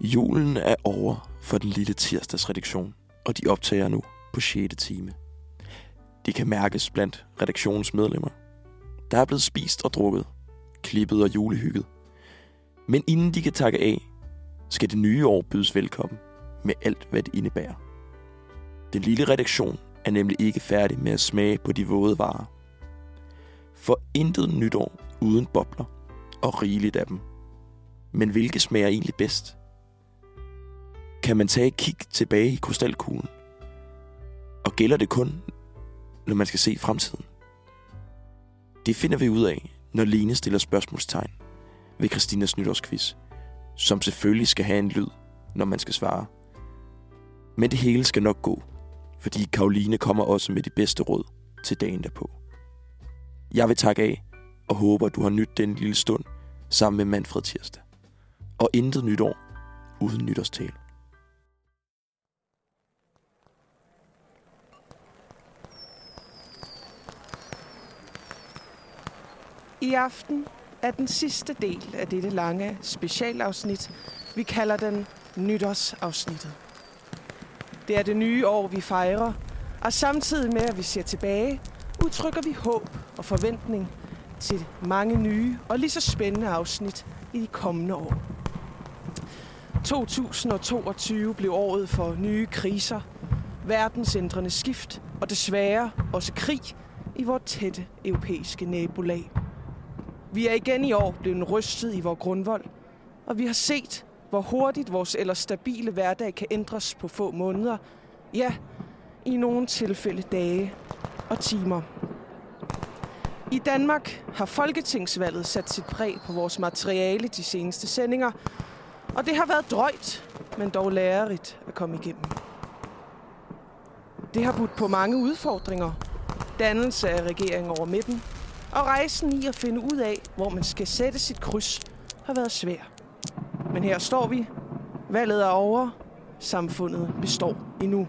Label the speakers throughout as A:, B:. A: Julen er over for den lille tirsdagsredaktion, og de optager nu på 6. time. Det kan mærkes blandt redaktionens medlemmer. Der er blevet spist og drukket, klippet og julehygget. Men inden de kan takke af, skal det nye år bydes velkommen med alt, hvad det indebærer. Den lille redaktion er nemlig ikke færdig med at smage på de våde varer. For intet nytår uden bobler, og rigeligt af dem. Men hvilke smager egentlig bedst? Kan man tage et kig tilbage i krystalkuglen? Og gælder det kun, når man skal se fremtiden? Det finder vi ud af, når Line stiller spørgsmålstegn ved Christinas nytårsquiz, som selvfølgelig skal have en lyd, når man skal svare. Men det hele skal nok gå, fordi Karoline kommer også med de bedste råd til dagen derpå. Jeg vil takke af og håber, du har nydt den lille stund sammen med Manfred Tirsdag. Og intet nytår uden nytårstale.
B: I aften er den sidste del af dette lange specialafsnit. Vi kalder den nytårsafsnittet. Det er det nye år, vi fejrer, og samtidig med, at vi ser tilbage, udtrykker vi håb og forventning til mange nye og lige så spændende afsnit i de kommende år. 2022 blev året for nye kriser, verdenscentrene skift og desværre også krig i vores tætte europæiske nabolag. Vi er igen i år blevet rystet i vores grundvold, og vi har set, hvor hurtigt vores ellers stabile hverdag kan ændres på få måneder, ja, i nogle tilfælde dage og timer. I Danmark har Folketingsvalget sat sit præg på vores materiale de seneste sendinger, og det har været drøjt, men dog lærerigt at komme igennem. Det har budt på mange udfordringer. Dannelse af regering over midten, og rejsen i at finde ud af, hvor man skal sætte sit kryds, har været svær. Men her står vi. Valget er over. Samfundet består endnu.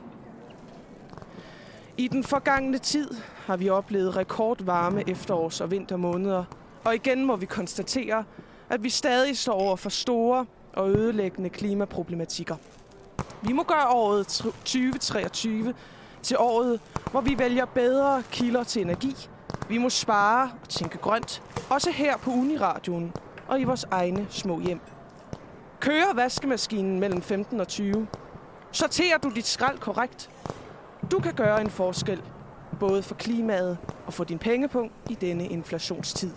B: I den forgangne tid har vi oplevet rekordvarme efterårs- og vintermåneder, og igen må vi konstatere, at vi stadig står over for store og ødelæggende klimaproblematikker. Vi må gøre året 2023 til året, hvor vi vælger bedre kilder til energi. Vi må spare og tænke grønt, også her på Uniradioen og i vores egne små hjem. Kører vaskemaskinen mellem 15 og 20? Sorterer du dit skrald korrekt? Du kan gøre en forskel, både for klimaet og for din pengepunkt i denne inflationstid.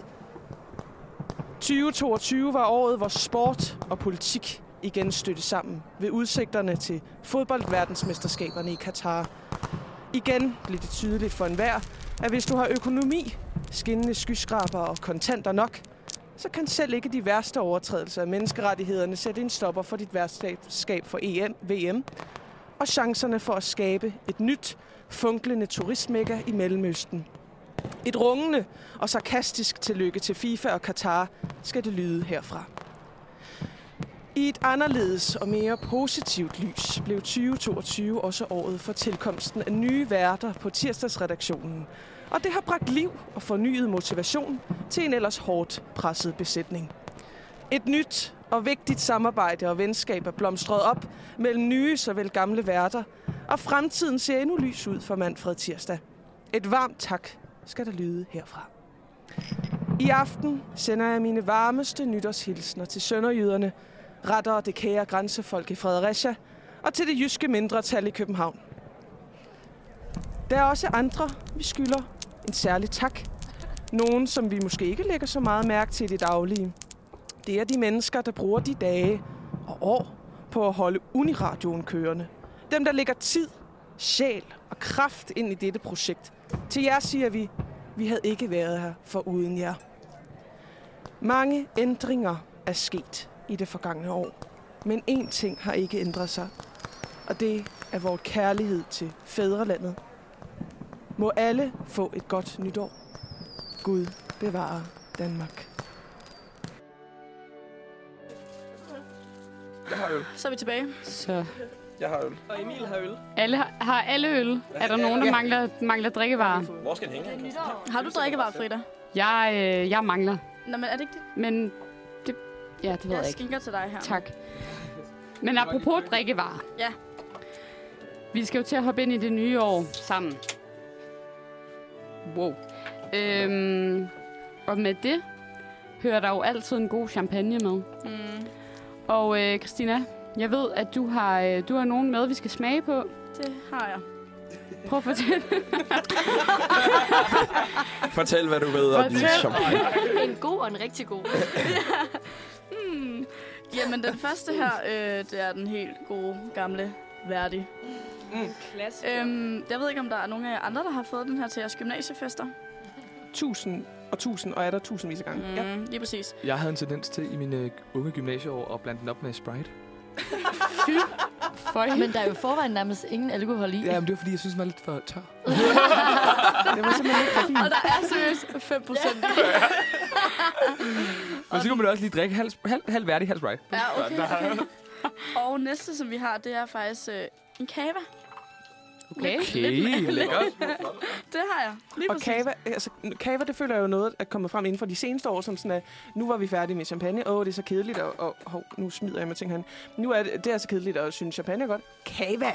B: 2022 var året, hvor sport og politik igen støtte sammen ved udsigterne til fodboldverdensmesterskaberne i Katar. Igen blev det tydeligt for enhver, at hvis du har økonomi, skinnende skyskraber og kontanter nok, så kan selv ikke de værste overtrædelser af menneskerettighederne sætte en stopper for dit værtskab for E EM, VM, og chancerne for at skabe et nyt, funklende turistmekka i Mellemøsten. Et rungende og sarkastisk tillykke til FIFA og Katar skal det lyde herfra. I et anderledes og mere positivt lys blev 2022 også året for tilkomsten af nye værter på tirsdagsredaktionen. Og det har bragt liv og fornyet motivation til en ellers hårdt presset besætning. Et nyt og vigtigt samarbejde og venskab er blomstret op mellem nye såvel gamle værter, og fremtiden ser endnu lys ud for Manfred Tirsdag. Et varmt tak skal der lyde herfra. I aften sender jeg mine varmeste nytårshilsner til sønderjyderne, rettere det kære grænsefolk i Fredericia og til det jyske mindretal i København. Der er også andre, vi skylder en særlig tak. Nogen, som vi måske ikke lægger så meget mærke til i det daglige. Det er de mennesker, der bruger de dage og år på at holde Uniradioen kørende. Dem, der lægger tid, sjæl og kraft ind i dette projekt. Til jer siger vi, vi havde ikke været her for uden jer. Mange ændringer er sket i det forgangne år. Men én ting har ikke ændret sig, og det er vores kærlighed til fædrelandet. Må alle få et godt nytår. Gud bevare Danmark.
C: Jeg har øl.
D: Så er vi tilbage.
E: Så
C: Jeg har øl.
B: Og Emil har øl.
E: alle har, har alle øl. Er der nogen, der mangler, mangler drikkevarer?
C: Hvor skal den hænge?
D: Har du drikkevarer, Frida?
E: Jeg, øh, jeg mangler.
D: Nå, men er det ikke det?
E: Men det, ja, det ved jeg,
D: Jeg
E: ikke.
D: skinker til dig her.
E: Tak. Men apropos drikkevarer.
C: Ja.
E: Vi skal jo til at hoppe ind i det nye år sammen. Wow. Øhm, og med det hører der jo altid en god champagne med.
C: Mm.
E: Og øh, Christina, jeg ved, at du har, øh, du har nogen med, vi skal smage på.
C: Det har jeg.
E: Prøv at fortælle.
A: Fortæl, hvad du ved om din
E: Fortæl.
A: champagne.
C: En god og en rigtig god. hmm. Jamen, den første her, øh, det er den helt gode, gamle Verdi.
D: Klasse.
C: Øhm, jeg ved ikke, om der er nogen af jer andre, der har fået den her til jeres gymnasiefester.
B: Tusind og tusind, og er der tusindvis af gange. Mm. Ja.
C: lige præcis.
F: Jeg havde en tendens til i mine unge gymnasieår at blande den op med Sprite.
E: For
G: Men der er jo i forvejen nærmest ingen alkohol i.
F: Ja, men det var fordi, jeg synes, den var lidt for tør.
B: Det var simpelthen ikke for fint.
C: Og der er seriøst 5 procent.
F: Men så kunne man også lige drikke halv, halv, halv værdig, halv Sprite.
C: Ja, okay, okay. Og næste, som vi har, det er faktisk øh, en kava.
E: Okay.
F: Okay, lækkert.
C: Det har jeg. Lige
B: Og kava, altså, kava, det føler jeg jo noget at komme frem inden for de seneste år, som sådan, at nu var vi færdige med champagne. Åh, det er så kedeligt, og, og hov, nu smider jeg med ting han. Nu er det, det er så kedeligt at synes champagne er godt. Kava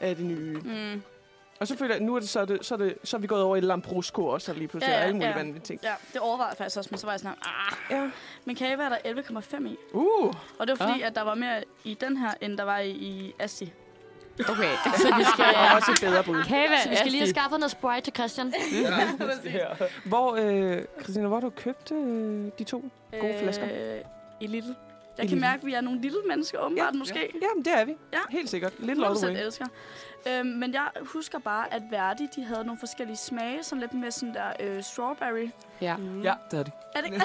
B: er det nye.
C: Mm.
B: Og så føler jeg, nu er det så, er det, så, er det, så er vi gået over i Lambrusco også, og lige pludselig
C: Ja,
B: ja,
C: ja,
B: alle mulige
C: ja.
B: ja. vanvittige ting.
C: Ja, det overvejede jeg faktisk også, men så var jeg sådan, ah,
B: Ja.
C: men kava er der 11,5 i.
B: Uh,
C: Og det var fordi, at der var mere i den her, end der var i, i Asti.
E: Okay.
G: Så vi skal,
B: og også et bedre bud.
E: Kava,
G: så altså, vi skal lige have
E: Asti.
G: skaffet noget Sprite til Christian.
B: Hvor, øh, Christina, hvor har du købt øh, de to? Gode flasker.
C: Øh, I Lidl.
B: I
C: Jeg kan
B: Lidl.
C: mærke, at vi er nogle lille mennesker, åbenbart ja, måske.
B: Jamen, det er vi.
C: Ja.
B: Helt sikkert. Lidt all the
C: 100%
B: way.
C: elsker. Øhm, men jeg husker bare, at Verdi, de havde nogle forskellige smage, sådan lidt med sådan der øh, strawberry.
E: Ja.
B: Mm.
F: Ja, det havde de.
C: Er det ikke?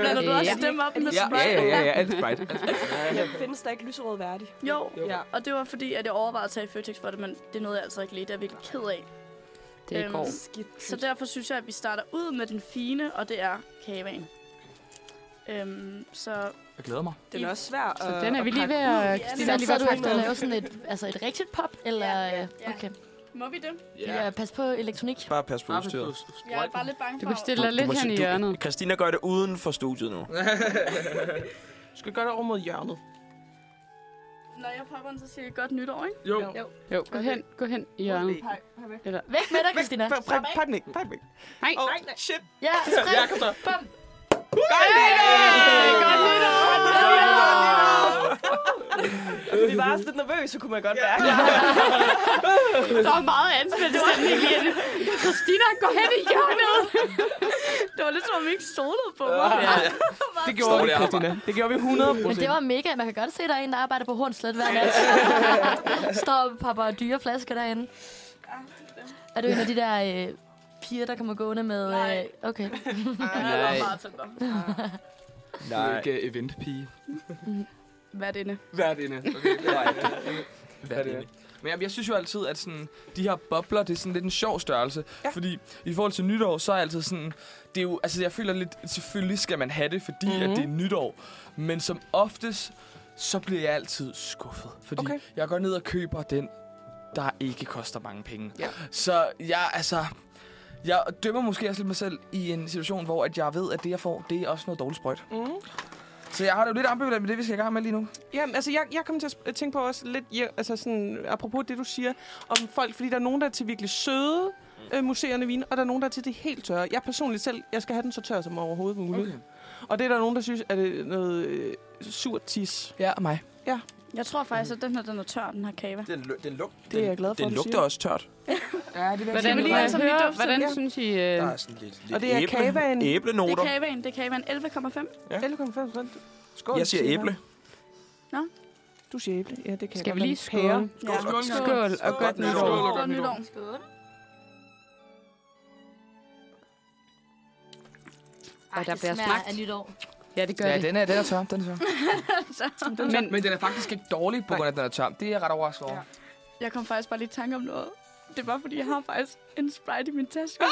C: Blander du også
E: Ja.
C: dem op med
F: Ja,
C: Sprite?
F: ja, ja, ja, ja, alt Sprite. alt Sprite.
D: Ja, findes der ikke lyserød værdig?
C: Jo,
B: Ja.
C: og det var fordi, at jeg overvejede at tage i Føtex for det, men det nåede jeg altså ikke lige. Det er jeg virkelig ked af.
E: Det
C: Øhm,
E: går.
D: Skidt.
C: Så derfor synes jeg, at vi starter ud med den fine, og det er kavaen. Øhm, så
F: Jeg glæder mig.
D: Den er også svær at
E: Så den er vi lige ved
C: ud
E: at...
C: i
E: Christina
G: Så
E: er
C: alle
E: lige
G: sidder
E: ved
G: du
E: at
G: efter at
E: trække
G: lave sådan et, altså et rigtigt pop, eller... øh,
C: Ja, ja, ja.
G: Okay.
C: må vi det?
G: Ja, pas på elektronik.
A: Bare pas på udstyret.
C: Jeg er bare lidt bange
E: Du
C: for...
E: bestiller lidt
A: må
E: hen i
A: se-
E: hjørnet.
A: Christina gør det uden for studiet nu.
B: Du skal gøre det over mod hjørnet.
C: Når jeg popper den, så siger jeg godt nytår, ikke?
F: Jo.
E: Jo, gå hen, gå hen i hjørnet. Eller,
G: Væk med dig, Christina.
B: Pak, pak, pak den ikke. Pak den ikke.
E: nej,
B: Oh, shit.
G: Ja, spring.
F: kom så.
G: Bum.
D: Vi var også lidt nervøse, kunne man godt mærke.
E: der var meget anspændt stemning i det. Christina, gå hen i hjørnet.
C: Det var lidt som om, vi ikke stolede på mig.
B: Ja. Det gjorde vi, Christina. Det gjorde vi 100
G: Men det var mega. Man kan godt se, der er en, der arbejder på Hornslet hver nat. Står og popper dyre flasker derinde. Er du en af de der øh, piger, der kommer gående med...
C: Nej.
G: Øh, okay.
C: Ja, det var meget tænder.
F: Du er ikke øh, eventpige.
C: Hvad er det inde?
F: Hvert inde. Okay, det var
A: Hvad er det?
F: Men jamen, jeg synes jo altid, at sådan, de her bobler, det er sådan lidt en sjov størrelse. Ja. Fordi i forhold til nytår, så er jeg altid sådan... Det er jo, altså, jeg føler lidt, selvfølgelig skal man have det, fordi mm-hmm.
B: Mhm.
F: at det er nytår. Men som oftest, så bliver jeg altid skuffet. Fordi
B: Okay.
F: okay. jeg går ned og køber den, der ikke koster mange penge.
B: Ja.
F: Så jeg, altså... Jeg dømmer måske også lidt mig selv i en situation, hvor at jeg ved, at det, jeg får, det er også noget dårligt sprøjt.
B: Mm.
F: Så jeg har det jo lidt ambivalent med det, vi skal i gang med lige nu.
B: Jamen, altså, jeg, jeg kom til at sp- tænke på også lidt, ja, altså sådan, apropos det, du siger, om folk, fordi der er nogen, der er til virkelig søde
A: Mm.
B: øh, museerne vine, og der er nogen, der er til det helt tørre. Jeg personligt selv, jeg skal have den så tør som overhovedet muligt. Okay. Og det er der nogen, der synes, at det er noget øh, surt tis.
F: Ja, og mig.
C: Jeg tror faktisk, at den her, den er tør, den her kava.
A: Den, lu- den, lug,
B: Det er jeg glad for,
A: den
B: du
A: lugter
B: siger.
A: også tørt.
E: Hvordan,
C: Skal vi lige
E: må jeg
C: altså lige
E: høre,
C: dufte
E: hvordan
B: den?
E: synes I... Øh,
A: Der er sådan lidt, lidt
B: Og det er
A: æble,
B: kavaen.
C: Det er
A: æblenoter.
C: kavaen, det er kavaen. 11,5.
B: 11,5 procent. Skål.
A: Jeg siger
B: Tina.
A: æble.
B: Du siger æble. Ja, det kan jeg
E: skal
B: godt
E: vi lige
B: lide. Pære.
E: skåle?
C: Ja.
F: Skål.
E: Skål og godt nytår.
C: Skål og nytår.
G: Ej,
E: der
G: det
E: bliver
G: smager
E: smagt.
G: af nytår.
E: Ja, det gør
F: Ja,
E: det.
F: den er, den er tør. Den er tør.
E: Men
F: Men den er faktisk ikke dårlig, på grund af, at den er tom. Det er jeg ret overrasket over.
C: Jeg kom faktisk bare lige i tanke om noget. Det var, fordi jeg har faktisk en Sprite i min taske.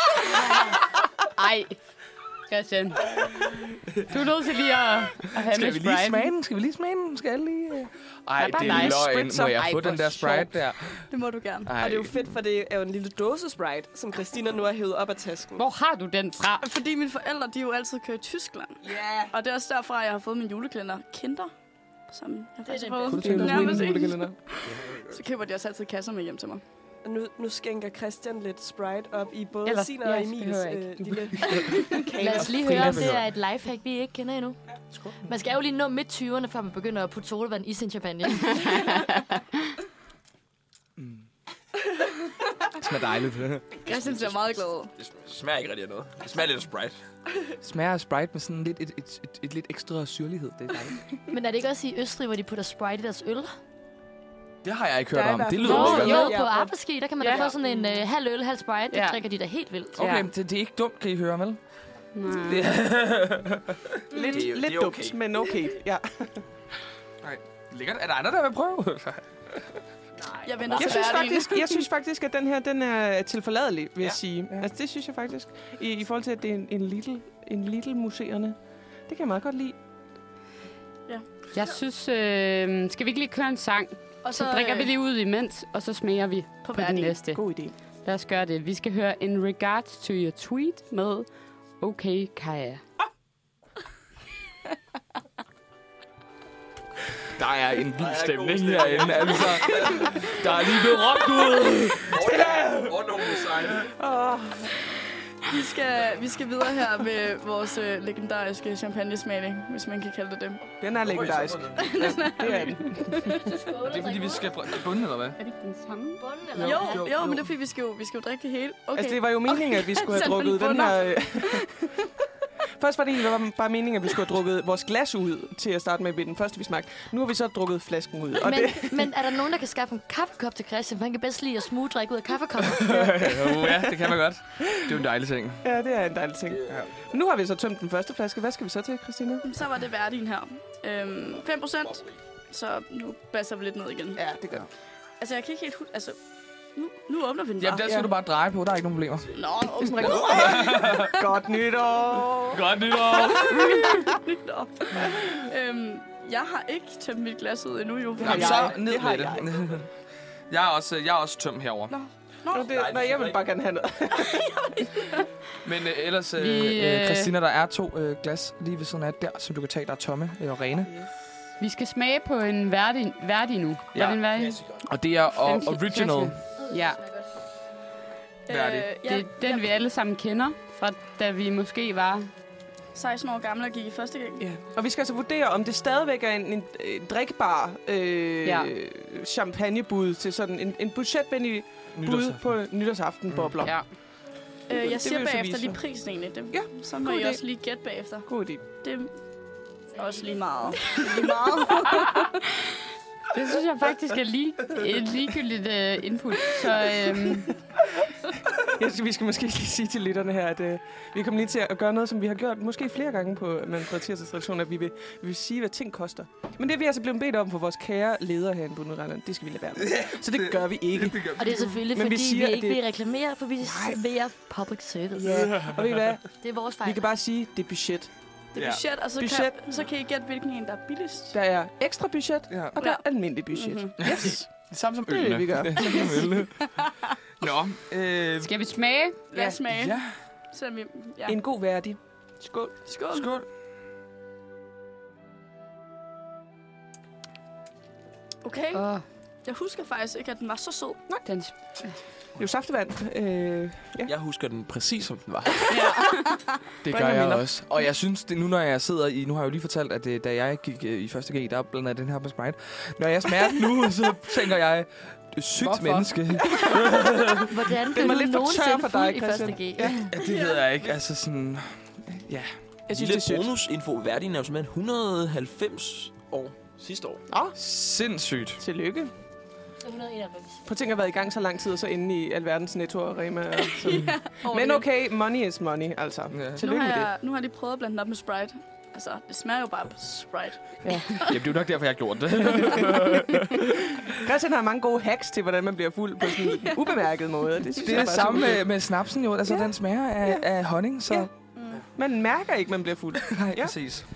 E: ej, Christian. Du er nødt til lige at, at have med Sprite.
F: den? Skal vi lige smage den? Skal alle lige... øh?
E: Ja,
F: Ej,
E: bare
F: det er
E: nice.
F: løgn. Må jeg
E: Ej,
F: få
E: hvor
F: den der Sprite der?
C: Det må du gerne.
F: Ej.
D: Og det er jo fedt, for det er jo en lille dåse Sprite, som Christina nu har hævet op af tasken.
E: Hvor har du den fra?
C: Fordi mine forældre, de er jo altid kørt i Tyskland. Ja. Yeah. Og det er også derfra, jeg har fået min juleklænder. Kinder. sammen. Jeg har
E: Det er
C: faktisk
E: det
C: prøvet.
E: bedste.
F: Kunne du tænke dig sådan
C: Nærmest
F: en
C: ikke.
F: julekalender?
C: Så køber de også altid kasser med hjem til mig.
D: Nu, nu skænker Christian lidt Sprite op i både
E: Eller-
D: Ellers, Sina
E: ja,
D: og
E: det
D: Emils
E: behøver jeg
D: øh,
E: ikke.
D: lille...
G: Lad os lige
F: Fint,
G: høre, om
F: jeg vil
G: det
F: høre.
G: er et lifehack, vi ikke kender endnu. Man skal jo lige nå midt 20'erne, før man begynder at putte sodavand i sin champagne.
F: Mm. Det smager dejligt.
C: Christian ser meget glad ud.
A: Det smager ikke rigtig af noget. Det smager lidt af Sprite.
F: Smager af Sprite med sådan lidt et, et, et, et lidt ekstra syrlighed. Det, er dejligt.
G: Men er det ikke også i Østrig, hvor de putter Sprite i deres øl?
F: det har jeg ikke
D: Der
F: hørt
D: er
F: om.
D: i hvert
F: Det
D: fald-
G: Nå,
F: lyder
D: Nå,
F: lækkert.
D: ja.
G: jo, på afterski, der kan man da
E: Ja.
G: få sådan en øh, halv øl, halv Sprite. Det
E: Ja.
G: drikker de da helt vildt.
F: Okay,
E: Ja.
F: men det, det er ikke dumt, kan I høre, vel?
C: Nej.
F: Det,
B: Lidt,
A: Det er jo-
B: lidt
A: det er okay.
B: dumt, men okay. Ja.
F: lækkert. Er der andre, der vil prøve?
C: Jeg venter
B: Jeg
C: til
B: synes,
C: hverdagen.
B: faktisk, jeg synes faktisk, at den her den er tilforladelig, vil ja.
F: Ja.
B: jeg sige.
F: Ja.
B: Altså, det synes jeg faktisk. I, i forhold til, at det er en, en little, en little museerne. Det kan jeg meget godt lide.
E: Jeg synes, øh, skal vi ikke lige køre en sang?
C: Og
E: Så drikker vi lige ud imens, og så smager vi
C: på
E: på den
C: hverdagen.
E: næste.
B: God idé.
E: Lad os gøre det. Vi skal høre In Regards to Your Tweet med Okay Kaja.
F: Der er en vild stemning herinde, altså. Der er lige blevet råbt ud.
C: Vi skal, vi skal videre her med vores øh, legendariske champagnesmagning, hvis man kan kalde det det.
B: Den er legendarisk. Ja, det er den.
F: Det er fordi, vi skal br- bunde, eller hvad?
E: Er det ikke den samme?
G: bunden,
C: Jo,
G: eller
C: jo,
F: jo,
C: jo,
F: jo.
C: jo, men det er fordi, vi skal jo, vi skal jo drikke det hele. Okay.
B: Altså, det var jo meningen, at vi skulle have
C: Sådan
B: drukket
C: den
B: den her... øh, Først var det egentlig bare- bare meningen, at vi skulle have drukket vores glas ud til at starte med ved den første, vi smagte. Nu har vi så drukket flasken ud. Og
G: Men,
B: det,
G: men er der nogen, der kan skaffe en kaffekop til Christian? For han kan bedst lide at smugdrikke ud af kaffekopper.
F: Jo, ja, det kan man godt. Det er jo en dejlig ting.
B: ja, det er en dejlig ting. Nu har vi så tømt den første flaske. Hvad skal vi så til, Christina?
C: Så var det værdien her. Øhm, 5 procent. Så nu basser vi lidt ned igen.
B: Ja, det gør
C: Altså, jeg kan ikke helt... hu- Altså, nu, nu åbner vi den
F: Jamen,
C: bare.
F: der skal du bare dreje på. Der er ikke nogen problemer.
C: Nå, okay.
B: Godt nytår!
F: Godt nytår.
C: Nå. øhm, jeg har ikke tømt mit glas ud endnu, jo.
F: Jamen,
B: jeg.
F: så ned
B: Det har
F: med det. Jeg er også, jeg er også tøm herover.
B: Nå, det, nej, jeg vil bare gerne have noget.
F: Men øh, ellers, øh,
E: Vi,
F: øh,
E: øh,
F: Christina, der er to øh, glas lige ved siden af der, som du kan tage, der er tomme øh, og rene.
E: Vi skal smage på en værdig, værdig nu. Ja.
F: Ja.
E: Var det en værdig?
F: Og det er og,
E: Den-
F: original.
E: Ja,
C: Øh,
F: Værdig.
E: det er den, vi alle sammen kender, fra da vi måske var...
C: 16 år gammel og gik i første gang.
B: Ja. Og vi skal altså vurdere, om det stadigvæk er en, en, en drikbar øh, ja.
E: Ja.
B: champagnebud til sådan en, en budgetvenlig bud
F: Nytårsaften.
B: på nytårsaftenbobler. Mm. Ja.
E: Ja.
C: Øh, jeg
B: Det
C: siger
B: vil jo så
C: bagefter
B: vise sig.
C: lige prisen egentlig. Det,
B: Ja,
C: så må
B: god
C: I
B: idé.
C: også lige gætte bagefter.
B: God idé.
C: Det er også lige meget. lige meget.
E: Det synes jeg faktisk er lige, et ligegyldigt uh, input. Så øhm,
B: Jeg skal, vi skal måske lige sige til lytterne her, at øh, vi kommer lige til at gøre noget, som vi har gjort måske flere gange på man på tirsdagsredaktionen, at vi vil, vi vil sige, hvad ting koster. Men det er vi altså blevet bedt om for vores kære ledere herinde på Nordjylland. Det skal vi lade være med. Så det gør vi ikke.
G: Og det er selvfølgelig,
B: Men vi
G: fordi vi,
B: siger, at
G: ikke
B: det-
G: vil reklamere, for vi serverer public service.
B: Ja. Og ved I hvad?
G: Det er vores fejl.
B: Vi kan bare sige, det er budget.
C: Det er budget, og så,
B: Budget.
C: Kan, så kan I gætte, hvilken en, der er billigst.
B: Der er ekstra budget,
F: Ja.
B: og der er almindelig budget.
C: Mhm.
B: Mm-hmm. Yes.
F: Det samme som
B: Det er det,
F: ølene.
B: vi gør.
F: som ølene. Nå, øh,
E: skal vi smage?
C: Lad os smage.
F: ja,
C: Selvom vi, ja.
B: En god værdig. Skål.
C: Skål.
F: skål.
C: Okay.
E: Åh,
C: Jeg husker faktisk ikke, at den var så sød.
E: den
B: Det er jo saftevand. Øh, ja.
A: Jeg husker den præcis, som den var.
F: Det
B: Bringer
F: gør jeg
B: minder.
F: også. Og jeg synes, det, nu når jeg sidder i... Nu har jeg jo lige fortalt, at øh, da jeg gik øh, i første G, der blandede jeg den her med Sprite. Når jeg smager den nu, så tænker jeg... "Det er Sygt
E: Hvorfor?
F: menneske.
G: Hvordan
B: Den
G: blev
B: var
G: du
B: lidt for tør
G: nogensinde
B: for dig,
G: fuld i
B: Christian.
G: første G?
F: Ja, det ved jeg ikke. Altså sådan... Ja.
B: Jeg synes, det er
A: Lille
B: sødt.
A: bonusinfo. Værdien er jo simpelthen 190 år sidste år.
F: Sindssygt.
B: Tillykke.
G: 191.
B: På ting at have været i gang så lang tid, og så inde i alverdens netto og Rema. Og sådan. Men okay, money is money, altså.
F: Ja.
C: Nu
B: Tillykke
C: har,
B: med det.
C: jeg, nu har de prøvet at blande den op med Sprite. Altså, det smager jo bare på Sprite.
F: Jamen, det er jo nok derfor, jeg har gjort det.
B: Christian har mange gode hacks til, hvordan man bliver fuld på sådan en ubemærket måde. Det, synes
F: Det
B: jeg
F: er det
B: bare
F: samme
B: super
F: med, med snapsen jo. Altså,
B: Ja.
F: den smager af, af honning, så...
B: Ja. fedt. Man mærker ikke, man bliver fuld.
F: Nej,
B: Ja.
F: præcis.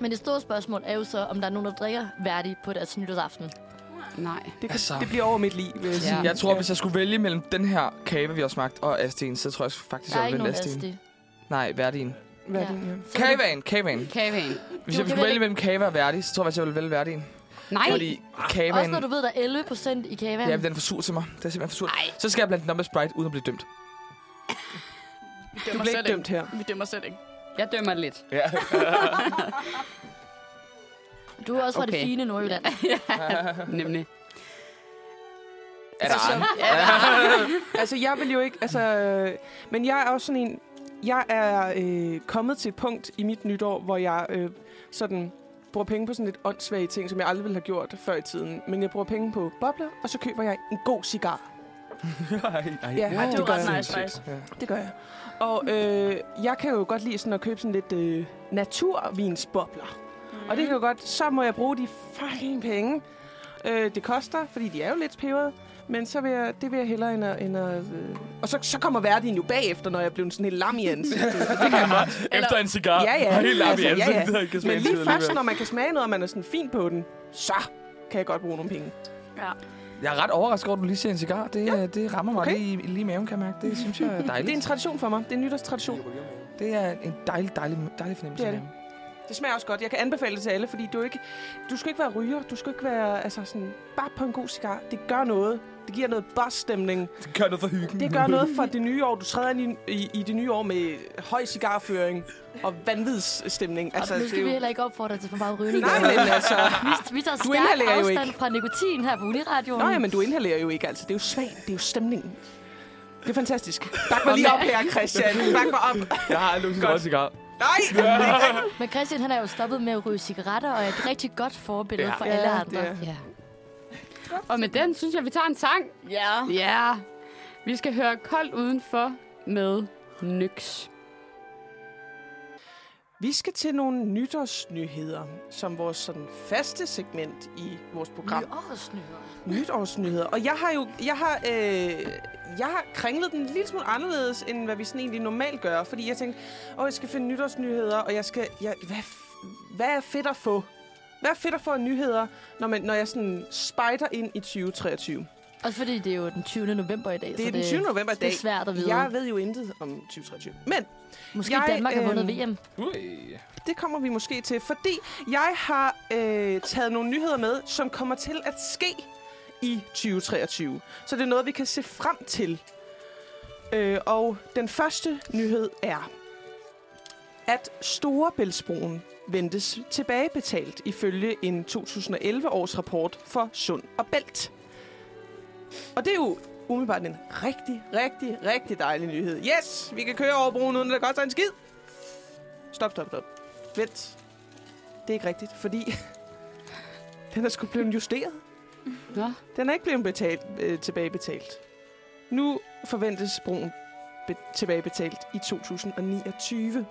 G: Men det store spørgsmål er jo så, om der er nogen, der drikker værdig på deres nytårsaften.
E: Nej.
B: Det, kan,
F: Altså.
B: det bliver over mit liv, vil jeg
E: Ja.
B: sige.
F: Jeg tror, hvis jeg skulle vælge mellem den her kage, vi har smagt, og Asten, så tror jeg faktisk,
G: Der er
F: jeg
G: ikke
F: ville
G: nogen
F: vælge
G: asti.
F: Asten. Nej, Verdien.
B: Hvad er det, ja.
G: Så er det-
F: Kagevagen, kagevagen.
E: Kagevagen.
F: Hvis
G: Du
F: jeg
G: kan
F: skulle vælge
G: vælge-
F: mellem kage og Verdi, så tror jeg faktisk, jeg ville vælge Verdien.
E: Nej,
F: Fordi
B: ah,
G: Også når
F: kavaen...
G: du ved, der er 11 procent i kavaen.
F: Ja, den er for sur til mig. Det er simpelthen for surt.
E: Ej.
F: Så skal jeg blande den op med Sprite, uden at blive dømt.
C: Vi
B: Du
C: dømmer
B: bliver
C: slet
B: ikke dømt her.
C: ikke. Vi dømmer slet ikke.
E: jeg dømmer lidt.
F: Ja.
G: Du er også fra det
E: Okay.
G: fine Nordjylland.
E: Nemlig.
F: er der andre?
B: Altså, jeg vil jo ikke... Altså, øh, men jeg er også sådan en... Jeg er øh, kommet til et punkt i mit nytår, hvor jeg øh, sådan bruger penge på sådan lidt åndssvage ting, som jeg aldrig ville have gjort før i tiden. Men jeg bruger penge på bobler, og så køber jeg en god cigar.
F: Ej,
B: Ja,
F: ej,
B: det
C: Det var
B: gør
C: ret
B: jeg.
C: nice, faktisk.
B: Det gør jeg. Og øh, jeg kan jo godt lide sådan at købe sådan lidt øh, naturvinsbobler. Mm. Og det kan jo godt, så må jeg bruge de fucking penge. Øh, det koster, fordi de er jo lidt peberet. Men så vil jeg, det vil jeg hellere end at... End at øh. Og så, så kommer værdien jo bagefter, når jeg er blevet sådan helt lam i ansigtet. det kan jeg godt.
F: Efter en cigar.
B: Ja, ja.
F: Og helt lap i
B: Altså, ja, ja.
F: ansigtet. og kan
B: Men
F: smage en
B: lige
F: skid
B: først,
F: alligevel.
B: når man kan smage noget, og man er sådan fin på den, så kan jeg godt bruge nogle penge.
C: Ja.
F: Jeg er ret overrasket over, at du lige ser en cigar. Det, ja. det rammer mig
B: Okay.
F: lige, i- lige i maven, kan jeg mærke. Det synes jeg er
B: Det er en
F: dejligt.
B: tradition for mig. Det er en nytårstradition.
F: Det er en dejlig, dejlig, dejlig fornemmelse.
B: Det er det. Det smager også godt. Jeg kan anbefale det til alle, fordi du, er ikke, du skal ikke være ryger. Du skal ikke være altså sådan, bare på en god cigar. Det gør noget. Det giver noget buzz-stemning.
F: Det gør noget for hyggen.
B: Det gør noget for det nye år. Du træder ind i, i, i det nye år med høj cigarføring og vanvidsstemning. Altså,
G: Altså, nu
B: det er
G: skal vi
B: jo...
G: heller ikke opfordre til for meget rygning.
B: Nej, men altså...
G: Vi, vi tager
B: Du
G: stærk
B: inhalerer jo
G: afstand
B: ikke.
G: fra nikotin her på Uniradioen.
B: Nå ja, men du inhalerer jo ikke, altså. Det er jo svagt. Det er jo stemningen. Det er fantastisk. Bak mig lige op her, Christian. Bak mig op.
F: Jeg har aldrig nogensinde røget en cigar.
B: Nej!
G: men Christian han er jo stoppet med at ryge cigaretter, og er et rigtig godt forbillede
F: Ja.
G: for
B: Ja,
G: alle
B: det
G: andre.
B: er.
E: Ja. Og med den synes jeg, vi tager en sang.
C: Ja.
E: Ja. Vi skal høre Koldt Udenfor med Nyx.
B: Vi skal til nogle nytårsnyheder, som vores sådan faste segment i vores program.
G: Nyårsnyheder.
B: nytårsnyheder. Og jeg har jo jeg har, øh, jeg har kringlet den en lille smule anderledes, end hvad vi sådan egentlig normalt gør. Fordi jeg tænkte, åh, jeg skal finde nytårsnyheder, og jeg skal... Jeg, hvad, f- hvad er fedt at få? Hvad er fedt at få af nyheder, når, man, når jeg sådan spejder ind i 2023?
G: Også fordi det er jo den 20. november i dag.
B: Det
G: så
B: er den 20. november i
G: Det
B: dag.
G: er svært at vide.
B: Jeg ved jo intet om 2023. Men
G: Måske
B: jeg,
G: Danmark har vundet
B: øhm,
G: VM.
F: Ui.
B: det kommer vi måske til, fordi jeg har øh, taget nogle nyheder med, som kommer til at ske i 2023. Så det er noget, vi kan se frem til. Øh, og den første nyhed er, at Storebæltsbroen ventes tilbagebetalt ifølge en 2011-års rapport for Sund og Bælt. Og det er jo umiddelbart en rigtig, rigtig, rigtig dejlig nyhed. Yes, vi kan køre over broen, uden at det koster en skid. Stop, stop, stop. Vent. Det er ikke rigtigt, fordi den er sgu blevet justeret.
E: Nå.
B: Den er ikke blevet betalt, øh, tilbagebetalt. Nu forventes broen be- tilbagebetalt i 2029.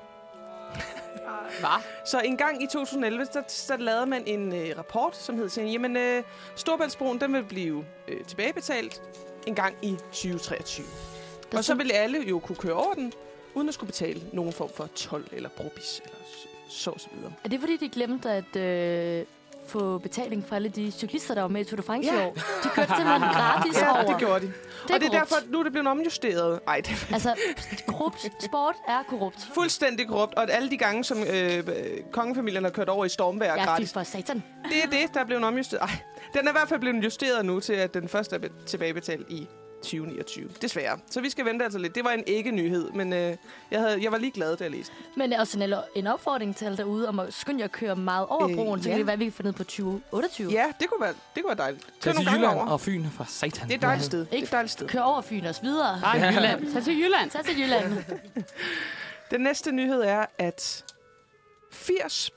E: Hvad?
B: Så en gang i 2011, så, så lavede man en øh, rapport, som hed, sådan, jamen øh, Storbæltsbroen, den vil blive øh, tilbagebetalt en gang i 2023.
G: Der
B: Og så
G: stod-
B: ville alle jo kunne køre over den, uden at skulle betale nogen form for told eller brobis eller s- så og så videre.
G: Er det fordi, de glemte at øh, få betaling fra alle de cyklister, der var med i Tour de France i
B: Ja.
G: år? De kørte simpelthen gratis
B: Ja,
G: over.
B: det gjorde de.
G: Det
B: og det er
G: korrupt.
B: derfor, at nu er det blevet omjusteret. Ej, det er
G: Altså, korrupt. Sport er korrupt.
B: fuldstændig korrupt. Og at alle de gange, som øh, øh, kongefamilien har kørt over i stormvejr
G: Jeg er fy
B: gratis,
G: for satan.
B: det er det, der er blevet omjusteret. Ej, den er i hvert fald blevet justeret nu til, at den første er be- tilbagebetalt i 2029. Desværre. Så vi skal vente altså lidt. Det var en ikke-nyhed, men øh, jeg, havde, jeg var lige glad, da jeg læste. den.
G: Men også en, en opfordring til alle derude om at skynde jer at køre meget over
B: Øh,
G: broen, så
B: ja.
G: kan det være, at vi kan få ned på 2028.
B: Ja, det kunne være, det kunne være dejligt. Tag
F: Tag til
B: nogle gange
F: Jylland
B: over.
F: og Fyn for satan.
B: Det er et dejligt sted. Det er
G: Ikke
B: et dejligt sted.
G: Kør over Fyn os videre.
E: Nej, Jylland. Tag til Jylland.
G: Tag til Jylland.
B: Den næste nyhed er, at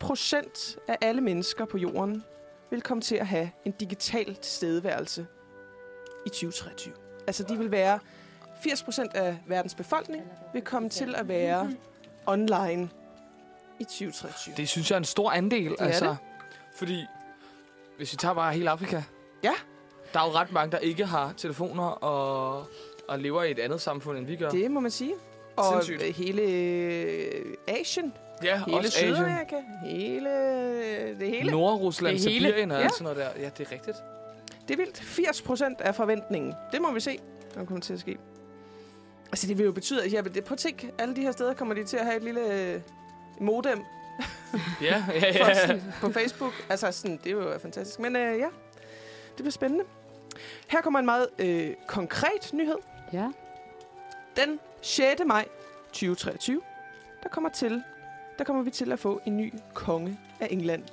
B: 80% af alle mennesker på jorden vil komme til at have en digital tilstedeværelse i 2023. Altså de vil være, 80% af verdens befolkning vil komme til at være online i 2023.
F: Det synes jeg er en stor andel,
B: er
F: altså.
B: det.
F: Fordi, hvis vi tager bare hele Afrika.
B: Ja.
F: Der er jo ret mange, der ikke har telefoner og, og lever i et andet samfund, end vi gør.
B: Det må man sige. Og
F: Sindssygt.
B: øh, hele øh, Asien,
F: ja,
B: hele
F: også Asien.
B: Sydamerika, hele øh, det hele.
F: Nordrusland,
E: Det hele.
F: Sibirien og
B: Ja.
F: alt sådan noget der. Ja, det er rigtigt.
B: Det er vildt. 80 procent af forventningen. Det må vi se, hvad der kommer til at ske. Altså, det vil jo betyde, at jeg, det, på tænk, alle de her steder kommer de til at have et lille øh, modem
F: Ja, ja,
B: for
F: ja.
B: sådan, på Facebook. Altså, sådan, det er jo fantastisk. Men øh, ja, det bliver spændende. Her kommer en meget øh, konkret nyhed.
E: Ja.
B: Den 6. maj 2023, der kommer, til, der kommer vi til at få en ny konge af England.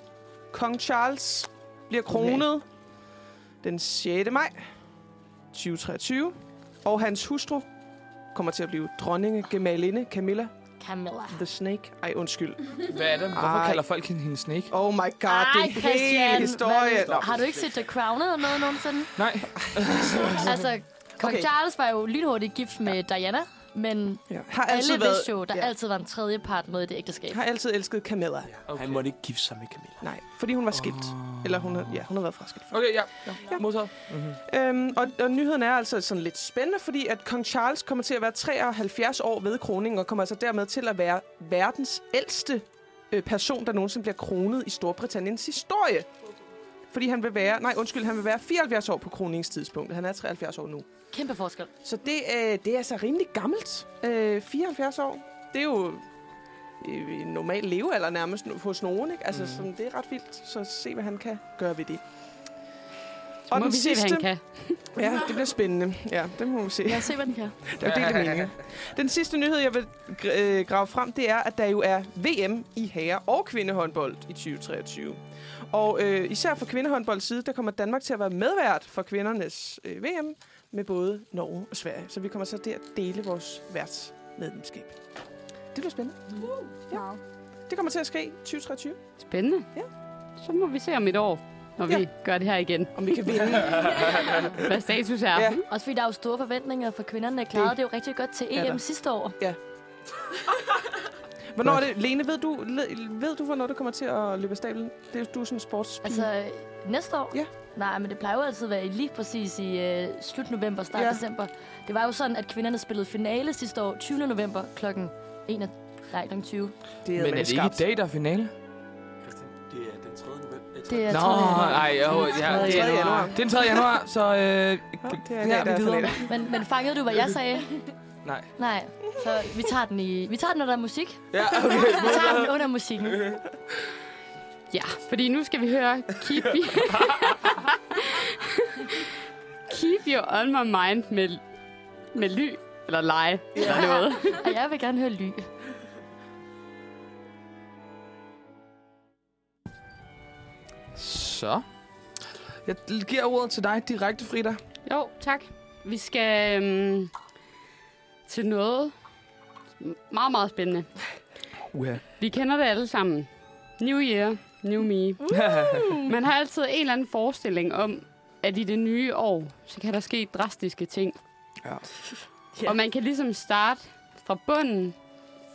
B: Kong Charles bliver kronet den 6. maj 2023, og hans hustru kommer til at blive dronninge gemalinde Camilla
G: Camilla.
B: the Snake. Ej, undskyld.
F: Hvad er det? Hvorfor
B: Ej.
F: kalder folk hende hende snake?
B: Oh my god, Ej, det er en hel historie. Nå,
G: Hvad, har du ikke set The Crown eller noget nogensinde?
F: Nej.
G: Altså, Kong
B: Okay.
G: okay. Charles var jo lynhurtigt gift med Diana, men
B: ja. har
G: alle
B: altid været,
G: vidste jo, der
B: ja.
G: altid var en tredje part med i det ægteskab.
B: har altid elsket Camilla. Ja.
A: Okay. Han måtte ikke gifte sig med Camilla.
B: Nej, fordi hun var skilt. Oh. Eller hun, havde- ja, hun har været fraskilt.
F: Okay, ja. ja. Modtaget.
B: Øhm, og, og nyheden er altså sådan lidt spændende, fordi at kong Charles kommer til at være 73 år ved kroningen, og kommer altså dermed til at være verdens ældste øh, person, der nogensinde bliver kronet i Storbritanniens historie. Fordi han vil være, nej undskyld, han vil være 74 år på kroningstidspunktet. Han er 73 år nu.
G: Kæmpe forskel.
B: Så det, øh, det er altså rimelig gammelt. Øh, 74 år. Det er jo øh, en normal levealder nærmest nu- hos nogen, ikke? Altså, mm. sådan, det er ret vildt. Så se, hvad han kan gøre ved det.
E: Og må vi se, hvad han kan.
B: Ja, det bliver spændende. Ja, det må vi se.
G: Lad os se, hvad den kan.
B: Det er jo det, det er meningen. Den sidste nyhed, jeg vil gr- øh, grave frem, det er, at der jo er VM i herre- og kvindehåndbold i 2023. Og øh, især for kvindehåndbolds side, der kommer Danmark til at være medvært for kvindernes øh, VM med både Norge og Sverige. Så vi kommer så til at dele vores værtsmedlemskab. Det bliver spændende.
C: Ja.
B: Det kommer til at ske i 2023.
E: Spændende.
B: Ja.
E: Så må vi se om et år, når
B: Ja.
E: vi gør det her igen.
B: Om vi kan vinde.
E: Hvad status er.
B: Ja.
G: Også fordi der er jo store forventninger for kvinderne. Klarede det, det jo rigtig godt til
B: er
G: EM
B: der.
G: sidste år.
B: Hvornår er det? Lene, ved du, le- ved du hvornår det kommer til at løbe af stablen? Det, du er sådan en sports.
G: Altså, øh, næste år?
B: Mm. Ja.
G: Nej, men det plejer jo altid at være i- lige præcis i øh, slut november, start
B: Ja.
G: ja. december. Det var jo sådan, at kvinderne spillede finale sidste år, 20. november kl. 1. Nej, kl. 20.
B: det
F: Men er det ikke i dag, der er finale?
A: Det er den 3. november.
G: Det er
F: Nå,
G: tredje.
F: nej, jo, ja, det er,
B: 3. januar.
F: det er den 3. januar, så øh,
B: det er i
F: ja,
B: dag, der er
F: vi videre.
B: finale.
G: Men, men fangede du, hvad jeg sagde?
F: Nej.
G: Nej, så vi tager den, i, vi tager den når der er musik.
F: Ja, okay.
G: Vi tager den under musikken.
E: Ja, fordi nu skal vi høre Keep, Keep Your On My Mind med, med ly eller lege eller noget.
G: Og jeg vil gerne høre ly.
F: Så. Jeg giver ordet til dig direkte, Frida.
E: Jo, tak. Vi skal øhm, til noget meget, meget spændende.
F: Uha.
E: Vi kender det alle sammen. New Year, New Me.
F: Uh.
E: Man har altid en eller anden forestilling om, at i det nye år, så kan der ske drastiske ting.
F: Ja.
E: Yeah. Og man kan ligesom starte fra bunden,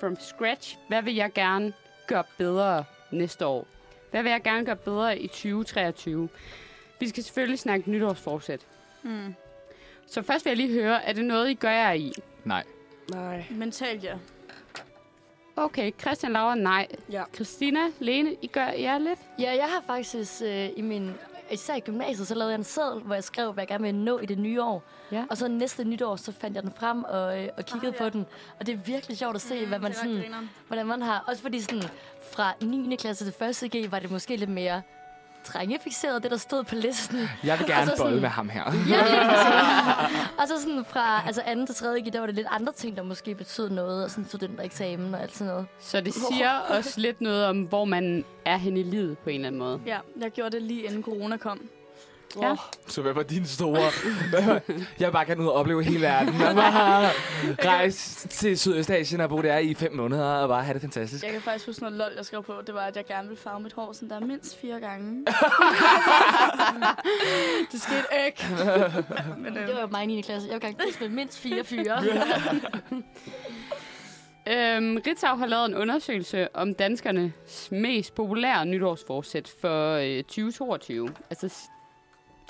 E: from scratch. Hvad vil jeg gerne gøre bedre næste år? Hvad vil jeg gerne gøre bedre i 2023? Vi skal selvfølgelig snakke nytårsforsæt.
C: Mm.
E: Så først vil jeg lige høre, er det noget, I gør jer i?
F: Nej.
D: Nej.
C: Mentalt, ja.
E: Okay, Christian Laura, nej.
D: Ja.
E: Christina, Lene, I gør jer lidt?
G: Ja, jeg har faktisk øh, i min... Især i gymnasiet, så lavede jeg en seddel, hvor jeg skrev, hvad jeg gerne ville nå i det nye år.
E: Ja.
G: Og så næste nytår, så fandt jeg den frem og, øh, og kiggede
C: Ah,
G: ah,
C: ja.
G: på den. Og det er virkelig sjovt at se, mm, hvad man
C: det er ret
G: sådan,
C: grineren.
G: hvordan man har... Også fordi sådan, fra 9. klasse til 1. G var det måske lidt mere drengefixeret, det der stod på listen.
F: Jeg
B: Altså
F: vil
G: gerne Og så sådan- bolle med
F: ham her.
G: Ja, lige præcis. og så sådan fra altså 2. til 3. G, der var det lidt andre ting, der måske betød noget. Og sådan studentereksamen og alt sådan noget.
E: Så det siger også lidt noget om, hvor man er hen i livet på en eller anden måde.
C: Ja, jeg gjorde det lige inden corona kom.
E: Ja.
F: Så hvad var din store... Hvad var- jeg vil bare gerne ud og opleve hele verden. Jeg bare rejse til Sydøstasien og bo der i fem måneder og bare have det fantastisk.
C: Jeg kan faktisk huske noget lol, jeg skrev på. Det var, at jeg gerne ville farve mit hår, sådan der mindst fire gange. det skete ikke. Men, øh,
G: Det var jo mig i 9. klasse. Jeg vil gerne kysse med mindst fire fyre.
E: Øhm, Ritzau har lavet en undersøgelse om danskernes mest populære nytårsforsæt for øh, 2022. Altså s-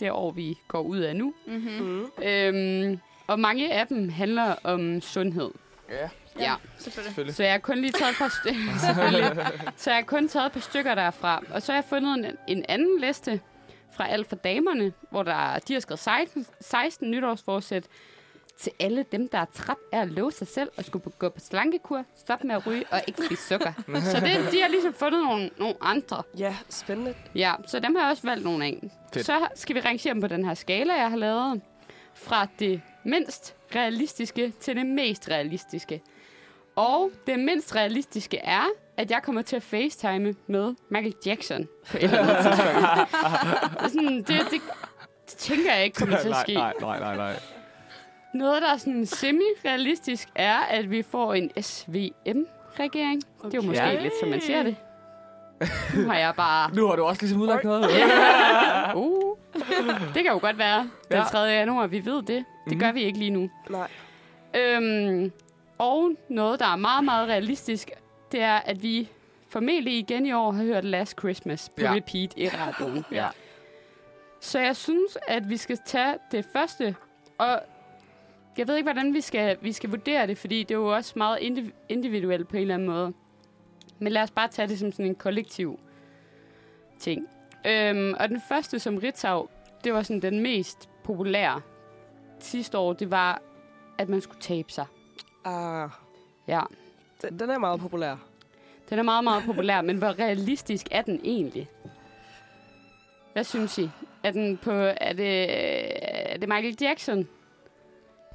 E: det år, vi går ud af nu.
C: mm-hmm.
E: Øhm, og mange af dem handler om sundhed.
F: Ja.
E: Ja.
C: Selvfølgelig.
E: Så jeg har kun lige taget et par stykker. Selvfølgelig. så jeg har kun taget et par stykker derfra. Og så har jeg fundet en, en anden liste fra Alt for Damerne, hvor der, de har skrevet 16, 16 nytårsforsæt til alle dem, der er træt af at låse sig selv og skulle gå på slankekur, stoppe med at ryge og ikke spise sukker. så det, de har ligesom fundet nogle, nogle andre.
D: Ja, spændende.
E: Ja, så dem har jeg også valgt nogle af.
F: Fedt.
E: Så skal vi rangere dem på den her skala, jeg har lavet. Fra det mindst realistiske til det mest realistiske. Og det mindst realistiske er, at jeg kommer til at facetime med Michael Jackson på et eller andet tidspunkt. Det er sådan, det, det, det tænker jeg ikke kommer til at ske.
F: nej, nej, nej, nej.
E: Noget, der er sådan semi-realistisk, er, at vi får en SVM-regering. Okay. Det er jo måske
F: Okay.
E: lidt, som man ser det. Nu har jeg bare...
F: Nu har du også ligesom udlagt noget.
E: Uh. Det kan jo godt være den
F: Ja.
E: 3. januar, vi ved det. Det
F: Mhm.
E: gør vi ikke lige nu.
D: Nej.
E: Øhm, og noget, der er meget, meget realistisk, det er, at vi formentlig igen i år har hørt Last Christmas på
F: Ja.
E: ja. repeat i radioen.
F: Ja.
E: Så jeg synes, at vi skal tage det første, og jeg ved ikke, hvordan vi skal, vi skal vurdere det, fordi det er jo også meget indiv- individuelt på en eller anden måde. Men lad os bare tage det som sådan en kollektiv ting. Øhm, og den første som Ritzau, det var sådan den mest populære sidste år, det var, at man skulle tabe sig.
D: Ah,
E: Ja.
D: den, den er meget populær.
E: Den er meget, meget populær, men hvor realistisk er den egentlig? Hvad synes I? Er den på... Er det, er det Michael Jackson?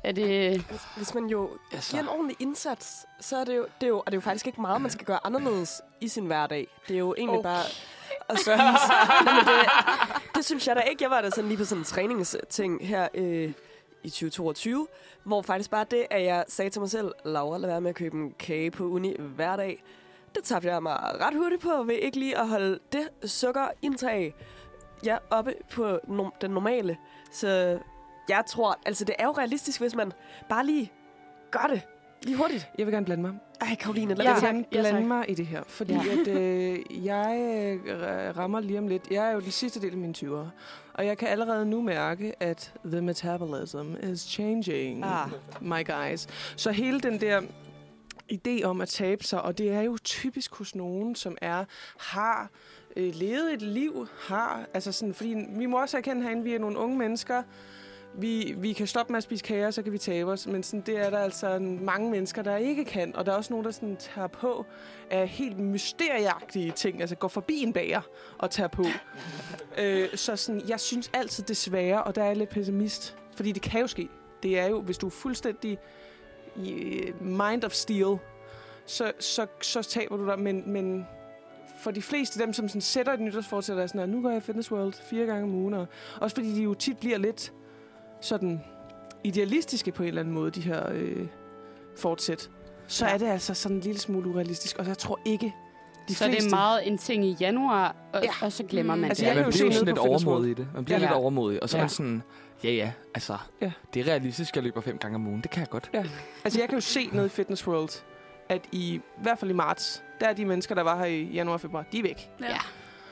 E: Er det...
D: Hvis- Hvis man jo
A: Altså,
D: giver en ordentlig indsats, så er det jo, det er jo, og det er jo faktisk ikke meget, man skal gøre anderledes i sin hverdag. Det er jo egentlig
E: Okay.
D: bare at spise. Nå, men det, det synes jeg da ikke. Jeg var da sådan lige på sådan en træningsting her øh, i 2022, hvor faktisk bare det, at jeg sagde til mig selv, Laura, lad være med at købe en kage på uni hver dag. Det tabte jeg mig ret hurtigt på ved ikke lige at holde det sukkerindtag jeg er oppe på no- den normale. Så jeg tror, altså det er jo realistisk, hvis man bare lige gør det. Lige hurtigt.
B: Jeg vil gerne blande mig.
D: Ej, Karoline, lad
B: Jeg
D: ja.
B: vil
D: det
B: gerne
C: Ja, tak.
B: blande mig i det her, fordi
E: Ja.
B: at, øh, jeg øh, ra- rammer lige om lidt. Jeg er jo den sidste del af mine 20'ere, og jeg kan allerede nu mærke, at the metabolism is changing, ah.
D: Ah,
B: my guys. Så hele den der idé om at tabe sig, og det er jo typisk hos nogen, som er har øh, levet et liv, har, altså sådan, fordi vi må også erkende herinde, vi er nogle unge mennesker, vi, vi kan stoppe med at spise kager, så kan vi tabe os, men sådan, det er der altså en- mange mennesker, der ikke kan, og der er også nogen, der sådan, tager på af helt mysterieagtige ting, altså går forbi en bager og tager på. øh, så sådan, jeg synes altid desværre, og der er jeg lidt pessimist, fordi det kan jo ske. Det er jo, hvis du er fuldstændig i- øh, mind of steel, så, så, så taber du dig, men, men for de fleste af dem, som sådan sætter et nytårsfortsæt, er sådan, at nu går jeg i Fitness World fire gange om ugen. Og også fordi de jo tit bliver lidt sådan idealistiske på en eller anden måde, de her øh, fortsæt. Så er det altså sådan en lille smule urealistisk, og jeg tror ikke, de
E: så
B: fleste...
E: det er meget en ting i januar, og,
B: Ja.
E: ja. og så glemmer man
B: Altså,
E: det.
B: jeg
F: Ja,
B: kan
F: man
B: jo se
F: bliver jo
B: nede
F: sådan
B: på
F: lidt
B: Fitness World.
F: overmodig i det. Man bliver
E: Ja.
F: lidt overmodig, og så er man
E: Ja.
F: sådan, ja ja, altså,
B: Ja.
F: det er realistisk, jeg løber fem gange om ugen, det kan jeg godt.
B: Altså, jeg kan jo se nede i Fitness World, at i, i hvert fald i marts, der er de mennesker, der var her i januar og februar, de er væk.
E: Ja.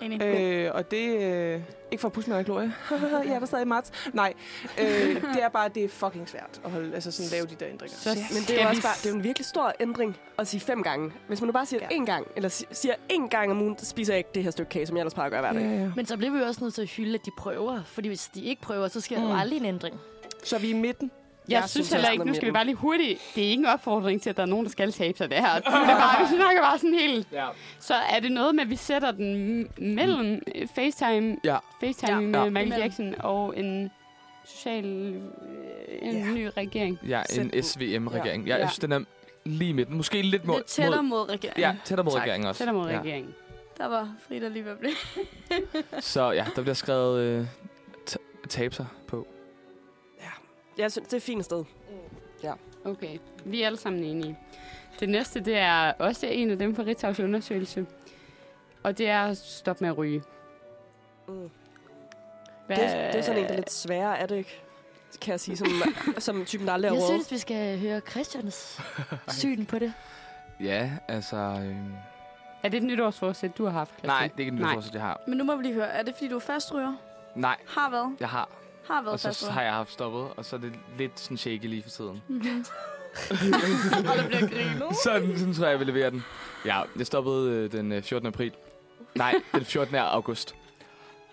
C: Enig.
B: Øh, og det... Øh, ikke for at pusse mig glorie. jeg er der stadig i marts. Nej, øh, det er bare, det er fucking svært at holde, altså sådan, lave de der ændringer.
E: Så
D: men det
E: skal
D: er
E: vi
D: jo også bare,
E: s-
D: det er jo en virkelig stor ændring at sige fem gange. Hvis man nu bare siger
B: Ja.
D: ja. én gang, eller si- siger én gang om ugen, så spiser jeg ikke det her stykke kage, som jeg ellers plejer at gøre hver dag.
B: ja.
G: Men så bliver vi jo også nødt til at hylde, at de prøver. Fordi hvis de ikke prøver, så sker mm. der
B: Mm.
G: jo aldrig en ændring.
B: Så er vi i midten.
E: Jeg,
D: Jeg
E: jeg
D: synes
E: synes heller
D: også,
E: ikke,
D: den er
E: nu skal vi
D: mellem.
E: bare lige hurtigt, det er ikke en opfordring til, at der er nogen, der skal tabe sig det her. Det er bare, vi snakker bare sådan helt.
F: Ja.
E: Så er det noget med, at vi sætter den m- mellem øh, FaceTime,
F: Ja.
E: FaceTime
C: Ja.
E: med
F: Ja.
E: Michael
C: Imellem.
E: Jackson og en social øh, en
D: Ja.
E: ny regering?
F: Ja,
D: Sæt den.
F: en SVM-regering. Ja,
E: Ja.
F: jeg synes, den er lige i midten. Måske lidt mod...
C: Lidt tættere
F: mod-
C: mod regeringen.
F: Ja, tættere mod
E: Tak.
F: regeringen også.
E: Sætter mod
F: Ja.
E: regeringen.
C: Der var Frida lige ved at blive.
F: Så ja, der bliver skrevet øh, ta- tabe sig på.
D: Jeg synes, det er et fint sted.
E: Okay, vi er alle sammen enige. Det næste, det er også en af dem fra Ritzau's undersøgelse. Og det er stop med at ryge.
D: Mm.
E: Hvad?
D: Det, er- det er sådan en, der er lidt sværere, er det ikke? Kan jeg sige, som, som typen, der aldrig har
G: Jeg
D: råd.
G: synes, vi skal høre Christians syn på det.
F: Ja, altså... Øh,
E: Er det et nytårsforsæt, du har haft, Christian?
F: nej, det er ikke en
E: Nej.
F: nytårsforsæt, jeg har.
C: Men nu må vi lige høre, er det fordi du er fastryger?
F: Nej,
C: Har været?
F: jeg har.
C: Har været
F: Og så
C: fastryger?
F: har jeg haft stoppet, og så er det lidt sådan shaky lige for tiden.
C: Og der bliver grinet.
F: Sådan, sådan tror jeg, jeg vil levere den. Ja, jeg stoppede øh, den øh, 14. april. Nej, den 14. august.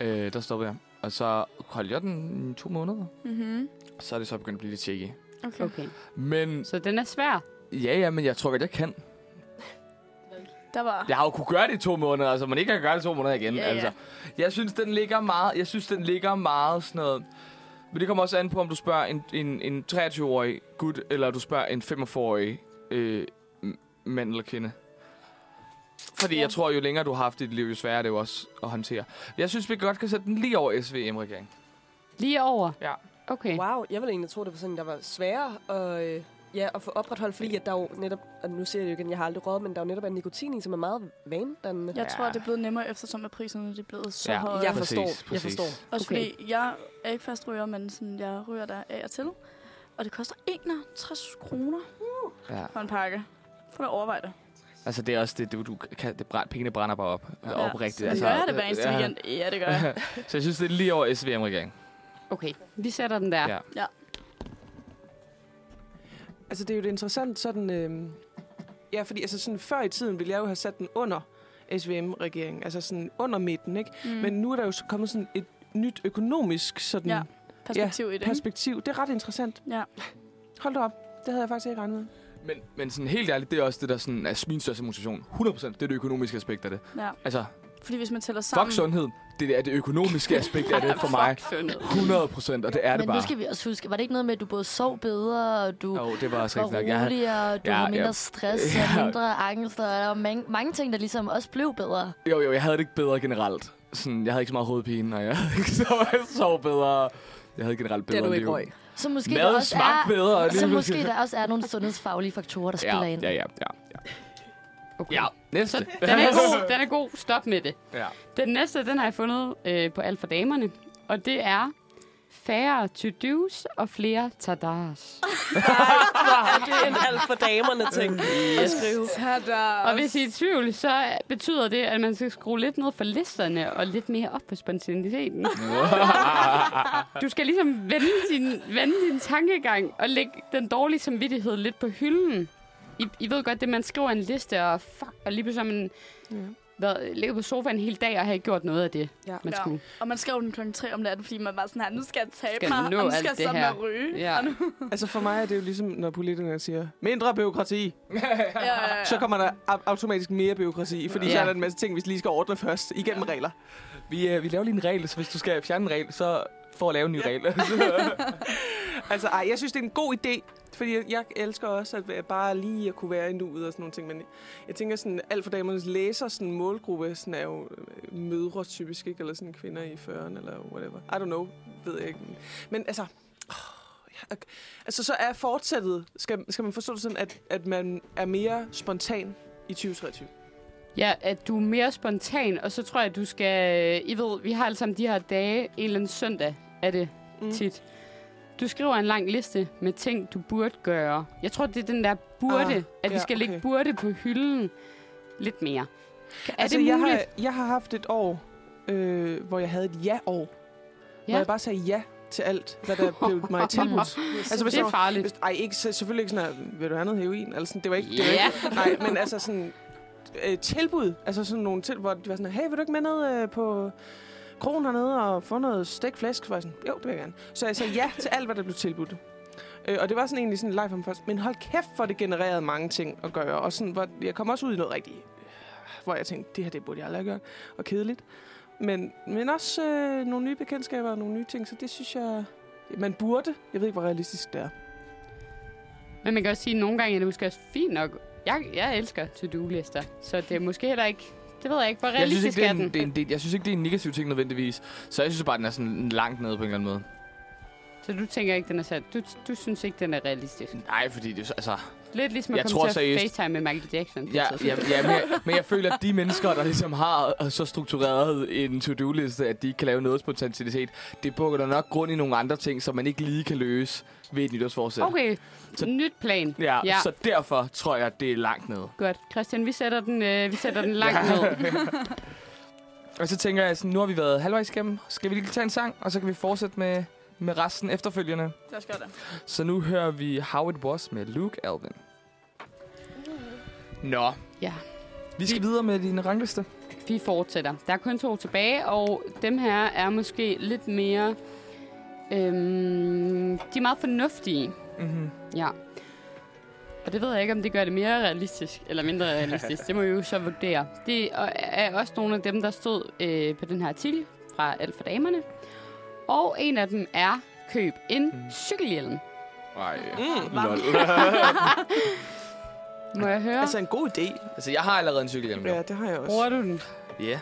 F: Øh, der stoppede jeg. Og så holdt jeg den i to måneder.
C: Mhm.
F: Og så er det så begyndt at blive lidt shaky.
C: Okay.
E: Okay.
F: Men
E: Så den er svær.
F: ja, ja, men jeg tror godt, jeg kan.
C: Der var...
F: Jeg har jo kunne gøre det i to måneder, altså man ikke kan gøre det i to måneder igen.
C: Ja, ja.
F: altså. Jeg synes, den ligger meget, jeg synes, den ligger meget sådan noget... Men det kommer også an på, om du spørger en, en, en 23-årig gut, eller du spørger en 45-årig øh, m- mand eller kvinde. Fordi
C: Ja.
F: jeg tror, jo længere du har haft dit liv, jo sværere er det jo også at håndtere. Jeg synes, vi godt kan sætte den lige over SVM-regeringen.
E: Lige over?
F: Ja.
E: Okay.
D: Wow, jeg ville egentlig tro, det var sådan, der var sværere at, øh, ja, at få opretholdt, fordi at der jo netop, og nu ser jeg det jo igen, jeg har aldrig røget, men der er jo netop en nikotin i, som er meget vanedannende.
C: Jeg
F: Ja.
C: tror, det er blevet nemmere, eftersom at priserne de er blevet så
F: Ja.
C: høje.
D: Jeg
F: Præcis,
D: forstår, jeg
F: præcis.
D: forstår.
C: Også
E: Okay.
C: okay. fordi, jeg er ikke fast ryger, men sådan, jeg ryger der af og til. Og det koster 61 kroner
F: Ja.
C: for en pakke. For at overveje det.
F: Altså, det er også det, du, du kan, det brænd, pengene brænder bare op. Ja. op rigtigt.
C: altså,
F: altså,
C: gør jeg det hver eneste
F: ja.
C: weekend? Ja, det gør jeg.
F: Så jeg synes, det er lige over SVM-regeringen.
E: Okay. Vi sætter den der.
F: Ja.
B: Altså, det er jo det interessant sådan... Øh... Ja, fordi altså, sådan, før i tiden ville jeg jo have sat den under SVM-regeringen. Altså sådan under midten, ikke? Mm. Men nu er der jo så kommet sådan et nyt økonomisk sådan
C: Ja, Perspektiv i det. ikke?
B: perspektiv. Det er ret interessant.
C: Ja.
B: Hold da op. Det havde jeg faktisk ikke regnet med.
F: Men, men sådan helt ærligt, det er også det, der sådan, er min største motivation. 100% det er det økonomiske aspekt af det.
C: ja.
F: Altså,
C: Fordi hvis man tæller sammen...
F: fuck sundhed. Det er det økonomiske aspekt af det for mig.
E: Fuck sundhed.
F: 100%, og det er det
G: Men
F: bare.
G: nu skal vi også huske, var det ikke noget med, at du både sov bedre, og du
F: Jo, oh, det var også
G: var
F: rigtigt nok. Jeg havde,
G: roligere, og du
F: Ja,
G: ja,
F: ja.
G: havde mindre stress
F: Ja.
G: og mindre angst, og der var mange, mange ting, der ligesom også blev bedre.
F: jo, jo, jeg havde det ikke bedre generelt. Sådan, jeg havde ikke så meget hovedpine, og jeg havde ikke så jeg sov bedre. Jeg havde generelt bedre
D: Det er du ikke
F: liv.
D: røg.
G: Så måske der
F: Mad
G: også
F: smagte
G: er,
F: bedre. og
G: så
F: lige-
G: måske der også er nogle sundhedsfaglige faktorer, der
F: ja,
G: spiller ind.
F: ja, ja, ja, ja.
E: Okay.
F: Ja,
E: Så
F: næste.
E: den er god. Den er god. Stop med det.
F: Ja.
E: Den næste, den har jeg fundet øh, på Alt for Damerne. Og det er færre to-dos og flere tadas.
D: Er det en alt for damerne ting at skrive?
E: Og hvis I er i tvivl, så betyder det, at man skal skrue lidt ned for listerne og lidt mere op på spontaniteten. Du skal ligesom vende din, vende din tankegang og lægge den dårlige samvittighed lidt på hylden. I, I ved godt, det man skriver en liste, og fuck, og lige pludselig har man været, ligget på sofaen en hel dag og har ikke gjort noget af det,
D: Ja.
E: man
C: Ja.
E: skulle.
C: Og man skrev den klokken 3 om natten, fordi man var sådan her, nu skal jeg tabe
E: Skal
C: mig,
E: nå
C: og nu
E: alt
C: skal jeg
E: det
C: stoppe med
E: her."
C: at ryge.
E: Ja.
C: Og nu,
B: Altså for mig er det jo ligesom, når politikerne siger, mindre byråkrati,
C: ja, ja, ja.
B: så kommer der au- automatisk mere byråkrati, fordi
E: Ja.
B: så er der en masse ting, vi lige skal ordne først, igennem regler.
F: Vi, øh, vi laver lige en regel, så hvis du skal fjerne en regel, så for at lave en ny regel.
B: Altså ej, jeg synes, det er en god idé, fordi jeg, jeg elsker også at være- bare lige at kunne være i nuet og sådan nogle ting, men jeg tænker sådan, alt for damernes læser, sådan målgruppe, sådan er jo øh, mødre typisk, ikke? Eller sådan kvinder i 40'erne, eller whatever. I don't know, ved jeg ikke. Men altså, åh, jeg- altså så er fortsættet, skal, skal man forstå det sådan, at, at man er mere spontan i 2023?
E: Ja, at du er mere spontan, og så tror jeg, at du skal... I ved, vi har alle sammen de her dage, en eller anden søndag er det
B: Mm.
E: mm. tit. Du skriver en lang liste med ting, du burde gøre. Jeg tror, det er den der burde,
B: Ah,
E: ah, at vi
B: ja,
E: skal lægge
B: okay.
E: burde på hylden lidt mere.
B: altså,
E: Er altså, det
B: jeg
E: muligt?
B: har, jeg har haft et år, øh, hvor jeg havde et ja-år. Ja. Hvor
E: Ja.
B: jeg bare sagde ja til alt, hvad der blev mig tilbudt. altså, hvis
E: det
B: jeg
E: er
B: var-
E: farligt.
B: Hvis, ej, ikke, så- selvfølgelig ikke sådan, her, vil du have noget heroin? Eller sådan, det var ikke, det var
E: Ja.
B: ikke nej, men altså sådan øh, tilbud. Altså sådan nogle til, hvor de var sådan, hey, vil du ikke med ned øh, på kronen hernede og få noget stegt flæsk? Så var jeg sådan, jo, det vil jeg gerne. Så jeg sagde ja til alt, hvad der blev tilbudt. Øh, og det var sådan egentlig sådan live om først. Men hold kæft, hvor det genererede mange ting at gøre. Og sådan, hvor jeg kom også ud i noget rigtigt, hvor jeg tænkte, det her, det burde jeg aldrig have gjort. Og kedeligt. Men, men også øh, nogle nye bekendtskaber og nogle nye ting, så det synes jeg, man burde. Jeg ved ikke, hvor realistisk det er.
E: Men man kan også sige, at nogle gange er det måske også fint nok. Jeg, jeg elsker to-do-lister, så det er måske heller ikke... Det ved jeg ikke, hvor
F: Jeg synes,
E: realistisk
F: ikke, det er
E: er
F: en,
E: den.
F: det er en, det, jeg synes ikke, det er en negativ ting nødvendigvis. Så jeg synes bare, den er sådan langt nede på en eller anden måde.
E: Så du tænker ikke, den er sat. Du, du synes ikke, den er realistisk.
F: Nej, fordi det, altså,
E: Lidt ligesom at
F: Jeg
E: komme
F: tror
E: til
F: seriøst-
E: at facetime med Michael Jackson. på et
F: ja,
E: tidspunkt.
F: ja, ja, men, jeg, men jeg føler, at de mennesker, der ligesom har øh, så struktureret en to-do-liste, at de ikke kan lave noget spontanitet, det bukker der nok grund i nogle andre ting, som man ikke lige kan løse ved et nytårsforsæt.
E: Okay,
F: Så-
E: så, nyt plan.
F: Ja, ja,
E: ja.
F: så derfor tror jeg, at det er langt nede.
E: Godt. Christian, vi sætter den, øh, vi sætter den langt ned.
F: Og så tænker jeg, sådan, nu har vi været halvvejs igennem. Skal vi lige tage en sang, og så kan vi fortsætte med, med resten efterfølgende.
C: Lad os gøre det.
F: Så nu hører vi How It Was med Luke Alvin. Nå,
E: Ja,
F: vi skal videre med din rangliste.
E: vi fortsætter. Der er kun to tilbage, og dem her er måske lidt mere... Øhm, de er meget fornuftige.
F: Mm-hmm.
E: Ja. Og det ved jeg ikke, om det gør det mere realistisk eller mindre realistisk. Det må jeg jo så vurdere. Det er- er også nogle af dem, der stod øh, på den her artikel fra Alt for Damerne. Og en af dem er, køb en mm. cykelhjelm.
F: Ej.
E: Må jeg høre?
B: Altså en god idé.
F: Altså, jeg har allerede en cykelhjelm nu.
B: Ja, det har jeg også.
E: Bruger du den?
F: Ja.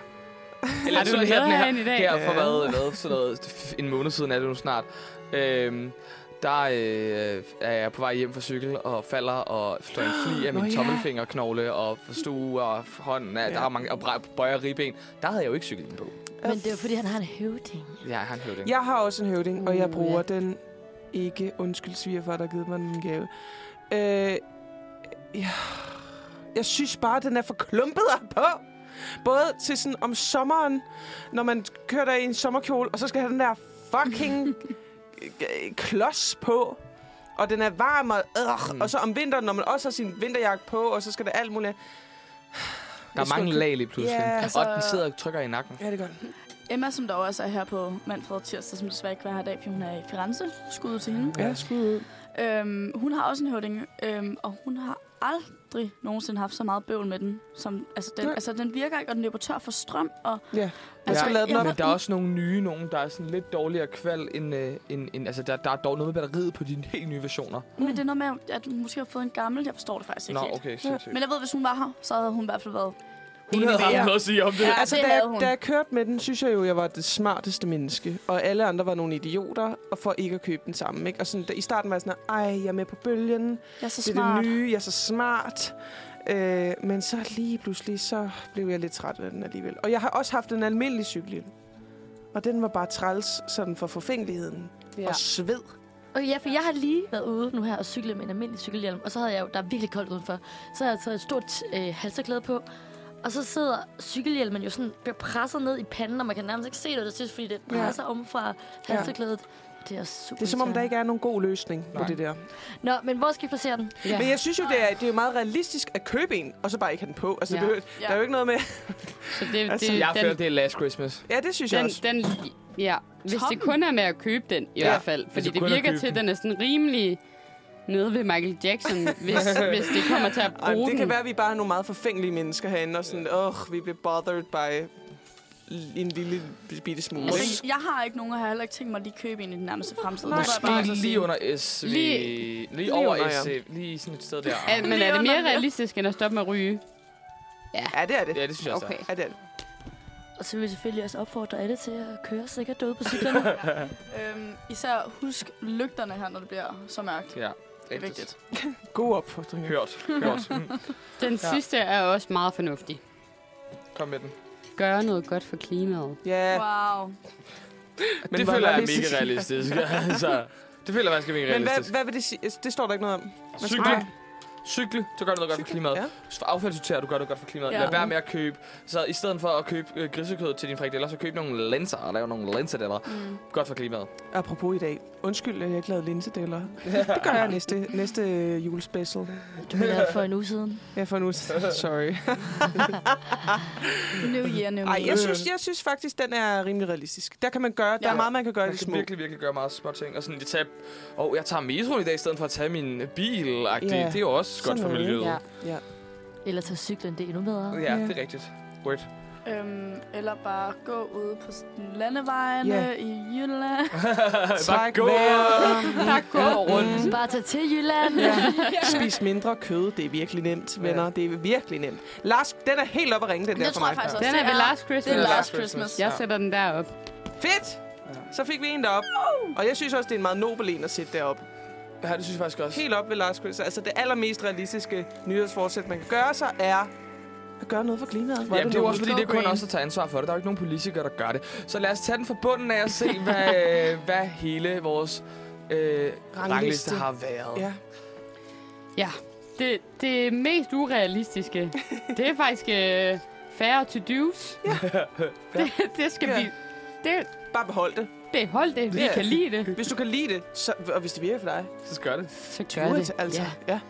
F: Eller
E: Har du
F: sådan
E: den
F: her, den
E: med
F: her,
E: herinde i dag?
F: her for
B: Ja.
F: hvad, hvad, sådan noget, f- en måned siden er det nu snart. Øhm, der øh, er jeg på vej hjem fra cykel og falder og slår en fli af
B: Nå
F: min
B: ja.
F: tommelfingerknogle og stue og f- hånden. Ja, der
B: Ja.
F: er mange, og bra- bøjer ribben. Der havde jeg jo ikke cyklen på.
G: Men det er jo fordi, han har en høvding.
F: Ja, han hørte det.
B: Jeg har også en høvding, og
C: Mm,
B: jeg
G: Uh,
B: bruger
G: ja.
B: den ikke. Undskyld, svigerfar, der har givet mig den gave. Øh, ja. Jeg synes bare, den er for klumpet at have på. Både til sådan om sommeren, når man kører der i en sommerkjole, og så skal have den der fucking øh, klods på. Og den er varm og, øh,
F: Mm.
B: og så om vinteren, når man også har sin vinterjakke på, og så skal der alt muligt.
F: Der er mange lag lige pludselig.
B: Ja.
F: Yeah. Og den
C: Altså-
F: sidder og trykker i nakken.
B: Ja, det gør den.
C: Emma, som der også er her på Manfred Tirsdag, som desværre ikke var her i dag, fordi hun er i Firenze. Skud ud til hende.
B: Ja, skud ud.
C: Øhm, hun har også en høvding, øhm, og hun har aldrig nogensinde haft så meget bøvl med den. Som, altså, den,
B: Nej.
C: altså, den virker ikke, og den løber tør for strøm. Og,
B: Ja.
F: Jeg
C: altså,
F: skal
B: lade den
C: jeg
B: op.
C: ved-
F: Men der er også nogle nye, nogle, der er sådan lidt dårligere kval end... Øh, end, end altså, der, der er dog noget med batteriet på de helt nye versioner.
C: Men det er noget med, at hun måske har fået en gammel. Jeg forstår det faktisk ikke
F: Nå,
C: helt.
F: okay, sindssygt.
C: Men jeg ved, hvis hun var her, så havde hun i hvert fald været...
F: Hun havde haft noget at sige om det.
C: Ja,
B: altså,
C: det
B: da,
C: havde hun.
B: jeg, da jeg kørte med den, synes jeg jo, jeg var det smarteste menneske. Og alle andre var nogle idioter og for ikke at købe den samme. Ikke? Og sådan, da, i starten var jeg sådan, ej, jeg er med på bølgen.
C: Jeg er så
B: Det er
C: smart.
B: det nye, jeg er så smart. Øh, men så lige pludselig, så blev jeg lidt træt af den alligevel. Og jeg har også haft en almindelig cykel. Og den var bare træls sådan for forfængeligheden. Ja.
E: Ja.
B: Og sved.
G: Okay, ja, for jeg har lige været ude nu her og cyklet med en almindelig cykelhjelm, og så havde jeg jo, der er virkelig koldt udenfor, så havde jeg taget et stort øh, halserklæde på, og så sidder cykelhjelmen jo sådan, bliver presset ned i panden, og man kan nærmest ikke se det, det synes, fordi det
B: Ja.
G: presser ja. om fra halserklædet. Det er også super
B: Det er som om, der
G: irriterende.
B: ikke er nogen god løsning Nej. på
F: Nej.
B: det der.
G: Nå, men hvor skal vi placere den?
E: Ja.
B: Men jeg synes jo, det er, det er jo meget realistisk at købe en, og så bare ikke have den på. Altså,
E: Ja.
B: ja. det behøver,
C: Ja.
B: der er jo ikke noget med...
E: Så det,
B: Altså,
E: det,
F: Jeg føler,
E: Øh, den,
F: det er last Christmas.
B: Ja, det synes jeg
E: den,
B: også.
E: den, ja. Hvis det
C: Toppen.
E: kun er med at købe den, i
F: Ja,
E: hvert fald.
F: hvis
E: Fordi
F: det
E: det
F: kun er at
E: virker
F: købe
E: til, at
F: den.
E: den er sådan rimelig nede ved Michael Jackson, hvis, hvis det kommer til at
B: Ej, men
E: bruge
B: det
E: den.
B: kan være, at vi bare er nogle meget forfængelige mennesker herinde, og sådan, åh, oh, vi bliver bothered by l- en lille bitte smule.
C: Altså,
B: Altså,
C: jeg har ikke nogen, og har heller ikke tænkt mig at lige købe en i den nærmeste fremtid. Det tror jeg bare,
F: Måske
C: jeg skal
F: lige
C: sige.
F: under S. Lige,
E: Lige-
F: lige, lige over
B: under, ja.
F: S. øh, Lige sådan et sted der.
E: Er, men er det
C: Leonard,
E: mere
C: ja.
E: realistisk, end at stoppe med at ryge?
B: ja, det er det.
F: Ja, det synes jeg også.
E: Okay.
F: Okay.
B: Ja, det er det.
G: Og så vil vi selvfølgelig også opfordre alle til at køre sikkert derude på cyklerne.
C: Øhm, især husk lygterne her, når det bliver så mørkt.
F: Ja.
C: Det er vigtigt.
B: God opfordring.
F: Hørt. Hørt. Mm.
E: Den sidste er også meget fornuftig.
F: Kom med den.
E: Gøre noget godt for klimaet.
B: Ja, wow.
C: Wow.
F: Men
B: Men
F: det
B: hvor
F: føler jeg er
B: realistisk.
F: mega realistisk. altså, det føler jeg faktisk er mega
B: men hvad,
F: realistisk.
B: hvad vil det sige? Altså, Det står der ikke noget om. Hvad
F: Cykle.
B: skal-
F: Cykle, så gør du noget godt for klimaet.
B: Ja.
F: For affaldssorterer, du gør noget godt for klimaet.
C: Ja.
F: Ja. Lad være med at købe. Så i stedet for at købe øh, grisekød til dine frikadeller, så køb nogle lenser og lav nogle lenserdeller.
C: Mm.
F: Godt for klimaet.
B: Apropos i dag. Undskyld, at jeg ikke lavede linsedeller. Det gør jeg næste, næste øh, julespecial.
G: Du mener for en uge siden.
B: Ja, for nu. Sorry.
C: New year, new
B: Ej,
C: me.
B: jeg synes, jeg synes faktisk, den er rimelig realistisk. Der kan man gøre, der
C: Ja.
B: er meget, man kan gøre i
F: Man
B: det
F: kan
B: små.
F: virkelig, virkelig gøre meget små ting. Og sådan, jeg tager, og jeg tager metroen i dag, i stedet for at tage min bil. Yeah.
B: Ja.
F: Det er jo også godt
B: Sådan
F: for
B: noget,
F: miljøet.
E: Ja.
G: Eller tage cyklen, det er endnu bedre.
F: Ja,
B: Ja.
F: det er rigtigt. Word.
C: Øhm, eller bare gå ude på sådan landevejene
B: Ja.
C: i Jylland.
B: Træk
F: gå.
B: vejret.
E: Der går rundt.
G: Mm. Bare tage til Jylland.
B: Spis mindre kød, det er virkelig nemt, venner. Det er virkelig nemt. Lars, den er helt op at ringe, den
C: Men
B: der
C: det
B: for
C: tror
B: mig.
C: jeg faktisk også.
E: Den er ved Last
C: Det er
E: Christmas.
C: last Christmas.
E: Jeg sætter den derop.
B: Fedt! Så fik vi en derop. Og jeg synes også, det er en meget nobel en at sætte derop.
F: Ja, det synes jeg faktisk også.
B: Helt op ved Lars Christmas. Altså det allermest realistiske nyhedsforsæt, man kan gøre sig, er at gøre noget for klimaet. Hvor
F: Ja, det er jo også fordi,
C: Go
F: det er kun
C: green.
F: os, der tager ansvar for det. Der er jo ikke nogen politikere, der gør det. Så lad os tage den fra bunden af og se, hvad, øh, hvad hele vores øh, rangliste har været.
B: Ja.
E: Ja, det, det mest urealistiske, det er faktisk øh, færre to do's. Ja. det, det skal
B: Ja.
E: vi... Det,
B: Bare behold det.
E: behold det, vi
B: Ja.
E: kan lide det.
B: Hvis du kan lide det, så, og hvis det virker for dig,
F: Så gør det.
E: Så
B: do it, altså.
E: Ja.
B: Ja.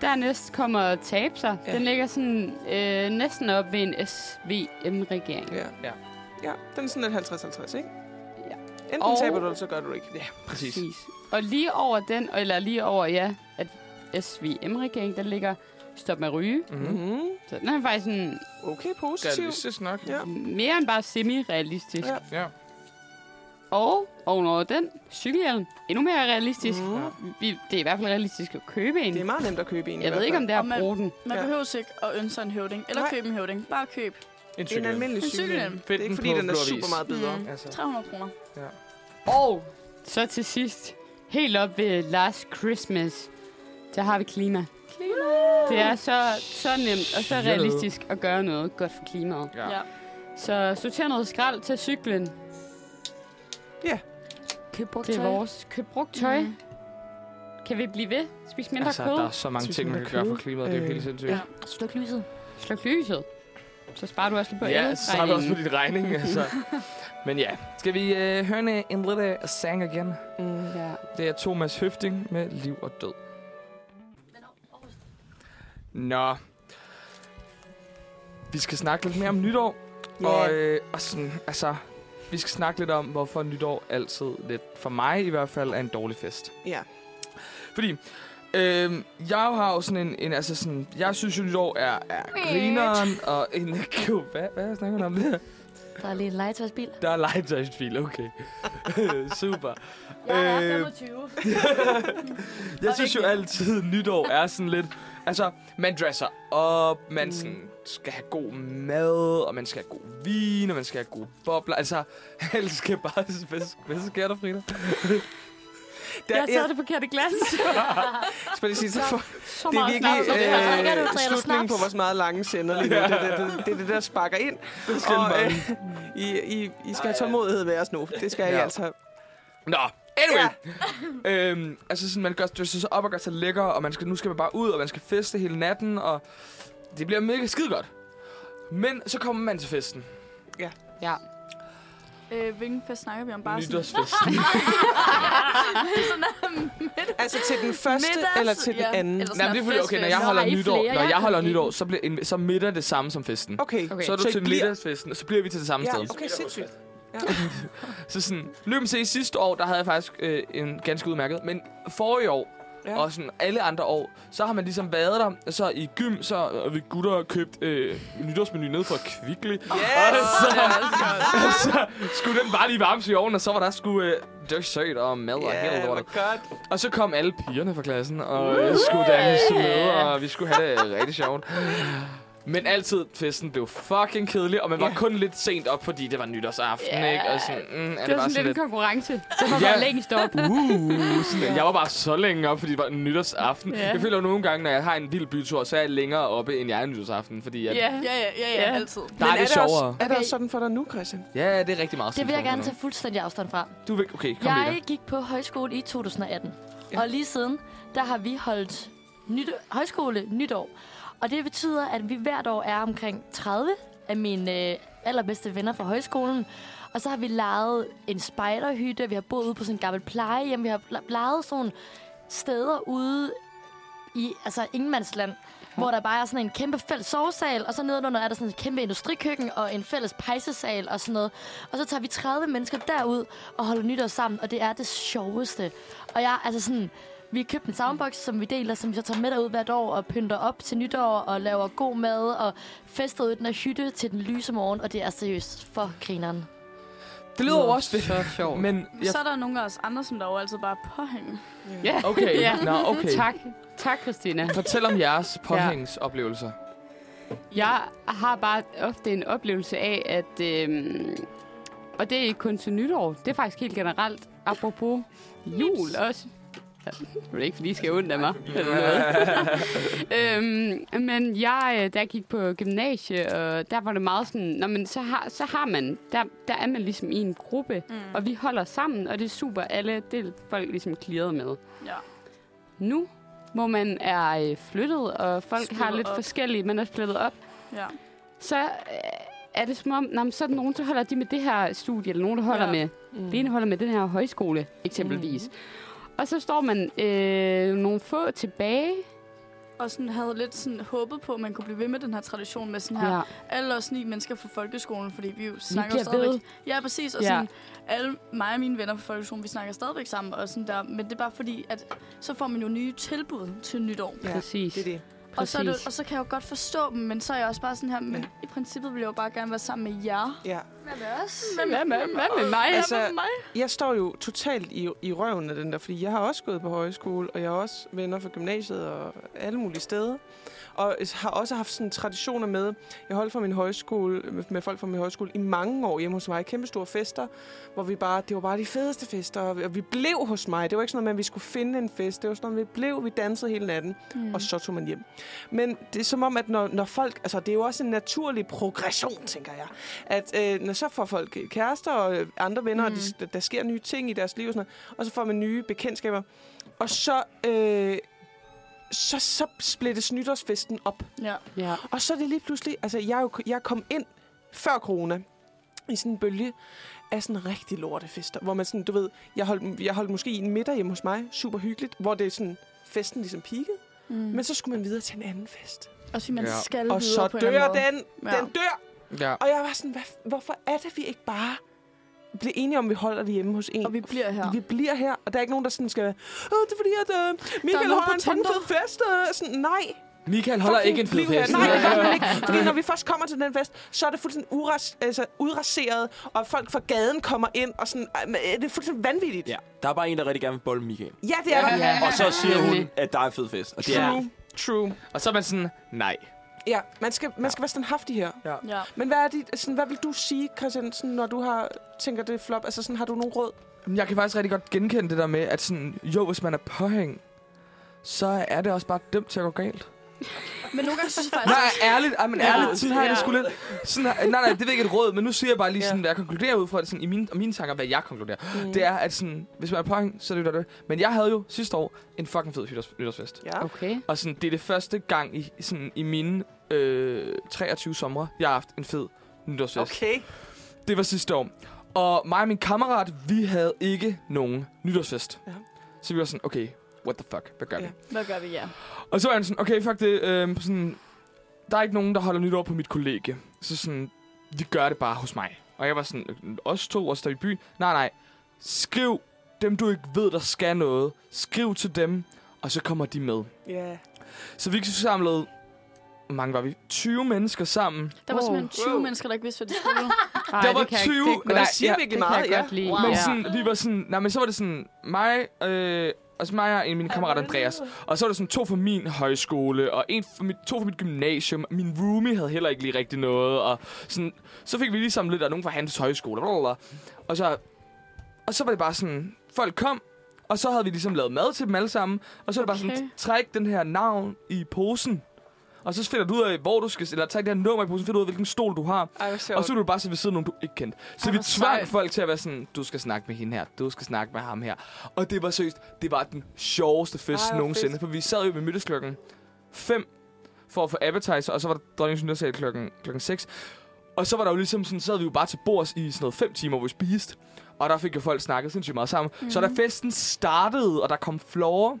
E: Dernæst kommer tabe sig.
B: Ja.
E: Den ligger sådan øh, næsten op ved en SVM-regering.
B: Ja.
F: Ja.
B: ja. den er sådan lidt 50-50, ikke? Enten
E: Og-
B: taber du, eller så gør du det ikke. Ja.
F: Præcis.
E: Præcis. Og lige over den, eller lige over, ja, at SVM-regeringen, der ligger stop med at ryge.
F: Mm-hmm.
B: Mm-hmm.
E: Så den er faktisk sådan,
B: Okay, positiv.
F: Realistisk nok.
B: Ja.
E: mere end bare semi-realistisk.
B: Ja.
E: Ja.
F: Ja.
E: Og ovenover den, cykelhjelm, endnu mere realistisk.
B: Mhm.
E: Mm. Vi, det er i hvert fald realistisk at købe en.
B: Det er meget nemt at købe en. i
E: Jeg ved
B: hvert
E: ikke, om
B: fald.
E: det er
C: Og
E: at bruge den.
C: Man
B: Ja.
C: ja. behøver ikke at ønde sig en høvding. Eller
B: Nej.
C: købe en høvding. Bare køb.
F: En
B: en
F: cykelhjelm.
B: almindelig
C: En
B: cykel.
C: cykelhjelm.
B: Det er ikke,
F: Find
B: fordi
F: den på
B: den er
F: blå avis.
B: super meget bedre.
C: Mm.
F: Altså.
C: 300 kroner.
E: Og så til sidst, helt op ved Last Christmas, der har vi klima.
C: Klima.
E: Det er så, så nemt og så
F: Shit.
E: realistisk at gøre noget godt for klimaet.
F: Ja.
C: Ja.
E: Så sorter noget skrald til cyklen.
G: Køb brugt
E: Det er
G: tøj.
E: vores køb brugt tøj. Mm. Kan vi blive ved? Spis mindre altså,
F: Altså, der er
E: kød.
F: så mange
E: Spis
F: ting, man
E: mindre
F: kan gøre for
E: kød.
F: klimaet. Det er jo
B: Øh,
F: helt sindssygt.
C: ja.
G: Sluk lyset.
E: Sluk lyset. Så sparer du også lidt på
F: Ja,
E: el-
F: så har du også på
E: regningen.
F: dit regning, altså. Men ja, skal vi øh, høre en, øh, en lille sang igen?
B: Mm.
E: Ja.
F: Det er Thomas Høfting med Liv og Død. Nå. Vi skal snakke lidt mere om nytår. Yeah. Og, øh, og sådan, altså, vi skal snakke lidt om, hvorfor nytår altid lidt, for mig i hvert fald, er en dårlig fest.
B: Ja.
F: Fordi, øh, jeg har jo sådan en, en altså sådan, jeg synes jo nytår er, er grineren, og en, hvad, hvad snakker man om det her?
G: Der er lige en legetøjsbil.
F: Der er legetøjsbil, okay. Super.
C: Jeg er
F: Øh,
C: 25.
F: Jeg
C: Og
F: synes jo
C: ikke-
F: altid, nytår er sådan lidt... Altså, man dresser op,
C: Mm.
F: man sådan skal have god mad, og man skal have god vin, og man skal have gode bobler. Altså, alt skal bare... Hvad, hvad sker der, Frida? Der,
E: Jeg sad det forkerte glas.
F: skal jeg lige sige, så for,
E: så
F: det er
E: meget
F: virkelig
E: snart.
G: det her. Drikker du,
F: øh,
G: drikker du
B: slutningen
G: snaps?
B: på vores meget lange sender lige nu. Det er det, det, det, er det, der sparker ind.
F: det skal
B: Og,
F: man.
B: øh, I, I, I skal have tålmodighed med os nu. Det skal I
F: Ja.
B: altså.
F: Nå, anyway. Ja. øhm, altså sådan, man gør dresser sig op og gør sig lækker, og man skal, nu skal man bare ud, og man skal feste hele natten, og det bliver mega skide godt. Men så kommer man til festen.
E: Ja.
C: Øh, hvilken fest snakker vi om? Bare sådan,
F: Nytårsfesten.
B: Altså til den første
C: Middags-
B: eller til den
C: ja,
B: anden.
C: eller sådan
F: Nej, men det er fordi,
C: noget
F: okay, når
C: festfest.
F: jeg
G: Nå,
F: holder
G: er I
F: nytår,
G: flere?
F: når
G: Jeg
F: jeg
G: kan
F: holder
G: ikke.
F: nytår, så, bliver, en- så er middag det samme som festen.
B: Okay.
E: Okay.
F: Så er du
B: Så I
F: til
B: bliver-
F: middagsfesten, og så bliver vi til det samme
B: Ja,
F: sted.
B: okay, sindssygt.
F: Så sådan, løben se sidste år, der havde jeg faktisk øh, en ganske udmærket, men forrige år,
B: Ja.
F: og sådan alle andre år, så har man ligesom været der, og så i gym, så har vi gutter købt øh, nytårsmenu ned fra Kvickly,
B: Yes!
F: og så skulle den bare lige varmes i ovnen, og så var der sgu øh, dessert og mad og yeah,
B: Ja,
F: helt
B: hvor
F: lort.
B: godt.
F: Og så kom alle pigerne fra klassen, og øh, skulle danse med, og vi skulle have det rigtig sjovt. Men altid, festen blev fucking kedelig, og man var
B: Ja.
F: kun lidt sent op, fordi det var nytårsaften,
E: Ja.
F: ikke? Og sådan, mm, er
E: Det
F: det
E: var
F: bare
E: sådan lidt en konkurrence. Så var
F: Ja.
E: man længst op.
F: Uh, sådan, jeg var bare så længe op, fordi det var nytårsaften.
E: Ja.
F: Jeg føler jo nogle gange, når jeg har en vild bytur, så er jeg længere oppe, end jeg er nytårsaften, fordi at,
E: Ja.
C: Ja, ja, ja, ja,
E: Ja.
C: altid.
F: der er det,
B: er det
F: sjovere.
B: også, er det
G: Okay.
B: også sådan for dig nu, Christian?
F: Ja, det er rigtig meget.
G: Det vil jeg
F: sådan
G: gerne
F: for
G: tage fuldstændig afstand fra.
F: mig. Du vil, okay, kom lige
G: Jeg gik på højskole i 2018. Og lige siden, der har vi holdt nyt, højskole nytår. Og det betyder, at vi hvert år er omkring 30 af mine øh, allerbedste venner fra højskolen. Og så har vi lejet en spejderhytte, vi har boet ude på sådan en gammel plejehjem, vi har la- lejet sådan nogle steder ude i altså ingenmandsland, hvor der bare er sådan en kæmpe fælles sovesal, og så nedenunder er der sådan en kæmpe industrikøkken og en fælles pejsesal og sådan noget. Og så tager vi 30 mennesker derud og holder nytår sammen, og det er det sjoveste. Og jeg, altså sådan, vi købte en soundbox, som vi deler, som vi så tager med derud hvert år og pynter op til nytår og laver god mad og fester ud i den her hytte til den lyse morgen, og det er seriøst for grineren.
F: det. Det lyder jo også fedt.
E: Så sjovt.
F: Men jeg,
C: Så er der nogle af os andre, som der jo altid bare påhænger.
E: Ja.
F: okay,
E: Ja.
F: nå, okay.
E: Tak. Tak, Christina.
F: Fortæl om jeres påhængsoplevelser.
E: Jeg har bare ofte en oplevelse af, at... Øhm, og det er ikke kun til nytår. Det er faktisk helt generelt. Apropos jul også. Ja, Det er ikke, fordi I skal have ondt af mig. Eller noget. øhm, men jeg, øh, da jeg gik på gymnasie, og der var det meget sådan... Nå, men så har, så har man... Der, der er man ligesom i en gruppe, mm. og vi holder sammen, og det er super. Alle, det er folk ligesom clearet med
C: Ja.
E: nu, hvor man er øh, flyttet, og folk
C: Splittet
E: har lidt
C: op.
E: forskellige, man er splittet op,
C: Ja.
E: så øh, er det som om, nå, men så er der nogen, der holder de med det her studie, eller nogen, der holder
C: Ja.
E: ja. med, mm. den ene holder med den her højskole, eksempelvis. Mm. Og så står man øh, nogle få tilbage,
C: og sådan havde lidt sådan håbet på, at man kunne blive ved med den her tradition med sådan her, ja.
E: Ja.
C: alle os ni mennesker fra folkeskolen, fordi vi jo snakker
E: bliver
C: stadigvæk.
E: ved.
C: Ja, præcis, og
E: Ja.
C: sådan, alle mig og mine venner fra folkeskolen, vi snakker stadigvæk sammen, og sådan der, men det er bare fordi, at så får man jo nye tilbud til nytår.
B: Ja,
E: Præcis.
B: det er det.
C: Og så, er det,
E: Præcis.
C: og så kan jeg jo godt forstå dem, men så er jeg også bare sådan her, men
B: Ja.
C: i princippet vil jeg jo bare gerne være sammen med jer.
B: Ja.
C: Hvad med os?
E: Hvad med, hvad med mig?
B: Altså,
C: Hvad med mig?
B: Jeg står jo totalt i, i røven af den der, fordi jeg har også gået på højskole, og jeg har også venner fra gymnasiet og alle mulige steder. Og s- har også haft sådan traditioner med, jeg holdt fra min højskole, med, med folk fra min højskole i mange år hjemme hos mig. Kæmpe store fester, hvor vi bare, det var bare de fedeste fester, og vi, og vi blev hos mig. Det var ikke sådan noget med, at vi skulle finde en fest. Det var sådan noget, vi blev, vi dansede hele natten, mm. og så tog man hjem. Men det er som om, at når, når folk, altså det er jo også en naturlig progression, tænker jeg at øh, når så får folk kærester og øh, andre venner, mm. og de, der sker nye ting i deres liv og sådan noget, og så får man nye bekendtskaber, og så, øh, så, så splittes nytårsfesten op.
C: Ja.
E: Ja.
B: Og så er det lige pludselig, altså jeg, er jo, jeg kom ind før corona i sådan en bølge af sådan rigtig lortefester, hvor man sådan, du ved, jeg holdt, jeg holdt måske en middag hjemme hos mig, super hyggeligt, hvor det er sådan, festen ligesom peakede,
C: Mm.
B: men så skulle man videre til en anden fest.
C: og så man
F: Ja.
C: skal
B: Og
C: videre
B: så
C: på en eller
B: dør
C: anden måde.
B: den,
C: Ja.
B: den dør,
F: Ja.
B: og jeg var sådan, hvad, hvorfor er det, vi ikke bare bliver enige om, vi holder det hjemme hos en?
C: Og vi bliver her.
B: Vi bliver her, og der er ikke nogen, der sådan skal, åh, det er fordi, at øh,
C: nogen
B: Michael
C: på
B: holder en fucking
C: Tinder."
B: fed fest. Øh, sådan, nej,
F: Michael holder
B: fucking
F: ikke en fed
B: bliv her.
F: fest.
B: Nej, det gør man ikke. Fordi når vi først kommer til den fest, så er det fuldstændig uras, altså, udraseret, og folk fra gaden kommer ind, og sådan, øh, men, øh, det er fuldstændig vanvittigt.
A: Ja, der er bare en, der rigtig gerne vil bolle Michael.
B: ja det er der.
E: Ja.
A: Og så siger hun,
E: Nemlig.
A: at der er en fed fest. Og det er
B: True, true.
F: Og så er man sådan, nej.
B: Ja, man skal, man skal være standhaftig her.
C: Ja.
B: Men hvad, er dit, sådan, hvad vil du sige, Christian, sådan, når du har, tænker det er flop? Altså, sådan, har du nogen råd?
F: Jamen, Jeg kan faktisk rigtig godt genkende det der med, at sådan, jo, hvis man er påhæng, så er det også bare dømt til at gå galt.
C: Men nogle gange synes jeg faktisk...
F: Nej, ærligt, ej, men
E: Ja.
F: ærligt, sådan har jeg det
E: Ja.
F: sgu lidt. Sådan, har- nej, nej, det er ikke et råd, men nu siger jeg bare lige
B: Ja.
F: sådan, hvad jeg konkluderer ud fra det, sådan, i mine, og mine tanker, hvad jeg konkluderer. Mm. Det er, at sådan, hvis man er påhæng, så lytter det. Men jeg havde jo sidste år en fucking fed nytårs- nytårsfest.
B: Mm. Ja.
E: Okay.
F: Og sådan, det er det første gang i, sådan, i mine øh, 23 somre, jeg har haft en fed nytårsfest.
B: Okay.
F: Det var sidste år. Og mig og min kammerat, vi havde ikke nogen nytårsfest.
B: Ja.
F: Så vi var sådan, okay, what the fuck, hvad gør vi?
B: Ja.
C: Hvad gør vi, ja?
F: Og så var han sådan, okay, fuck det, øh, sådan, der er ikke nogen, der holder nytår på mit kollegie. Så sådan, vi gør det bare hos mig. Og jeg var sådan, øh, os to, os der i byen. Nej, nej, skriv dem, du ikke ved, der skal noget. Skriv til dem, og så kommer de med.
B: Ja.
F: Så vi samlede, hvor mange var vi? 20 mennesker sammen.
C: Der var
E: Wow.
C: simpelthen 20
B: Wow.
C: mennesker, der ikke vidste, hvad de skulle.
E: Ej,
F: Der var
E: det kan
F: 20
E: Jeg, det,
F: men
E: kan
F: der
B: Det
E: jeg-
B: siger
F: ja,
B: virkelig
E: det kan
B: meget,
E: jeg
B: ja.
E: godt lide.
F: Wow. Men
E: ja.
F: sådan, vi var sådan, nej, men så var det sådan, mig, øh, altså mig og en af mine kammerater Andreas. Og så var der sådan to fra min højskole, og en fra mit, to fra mit gymnasium. Min roomie havde heller ikke lige rigtig noget, og sådan, så fik vi lige sammen lidt af nogen fra hans højskole. Blablabla. Og så, og så var det bare sådan, folk kom, og så havde vi ligesom lavet mad til dem alle sammen. Og så var det bare
C: Okay.
F: sådan, træk den her navn i posen. Og så finder du ud af, hvor du skal, eller træk det her nummer i posen, finder du ud af, hvilken stol du har.
B: Ej, hvor sjovt.
F: Og så ville du bare sidde ved siden af nogen, du ikke kendte. Så
C: Ej,
F: vi
C: hvor
F: tvang
C: sejt.
F: folk til at være sådan, du skal snakke med hende her, du skal snakke med ham her. Og det var seriøst, det var den sjoveste fest
B: Ej,
F: Ej,
B: hvor
F: nogensinde.
B: fedt.
F: For vi sad jo ved middagsklokken 5 for at få appetizer, og så var der dronningens nytårssal klokken, klokken 6. Og så var der jo ligesom sådan, så havde vi jo bare til bords i sådan noget 5 timer, hvor vi spiste. Og der fik jo folk snakket sindssygt meget sammen. Mm.
B: Mhm.
F: Så da festen startede, og der kom floor,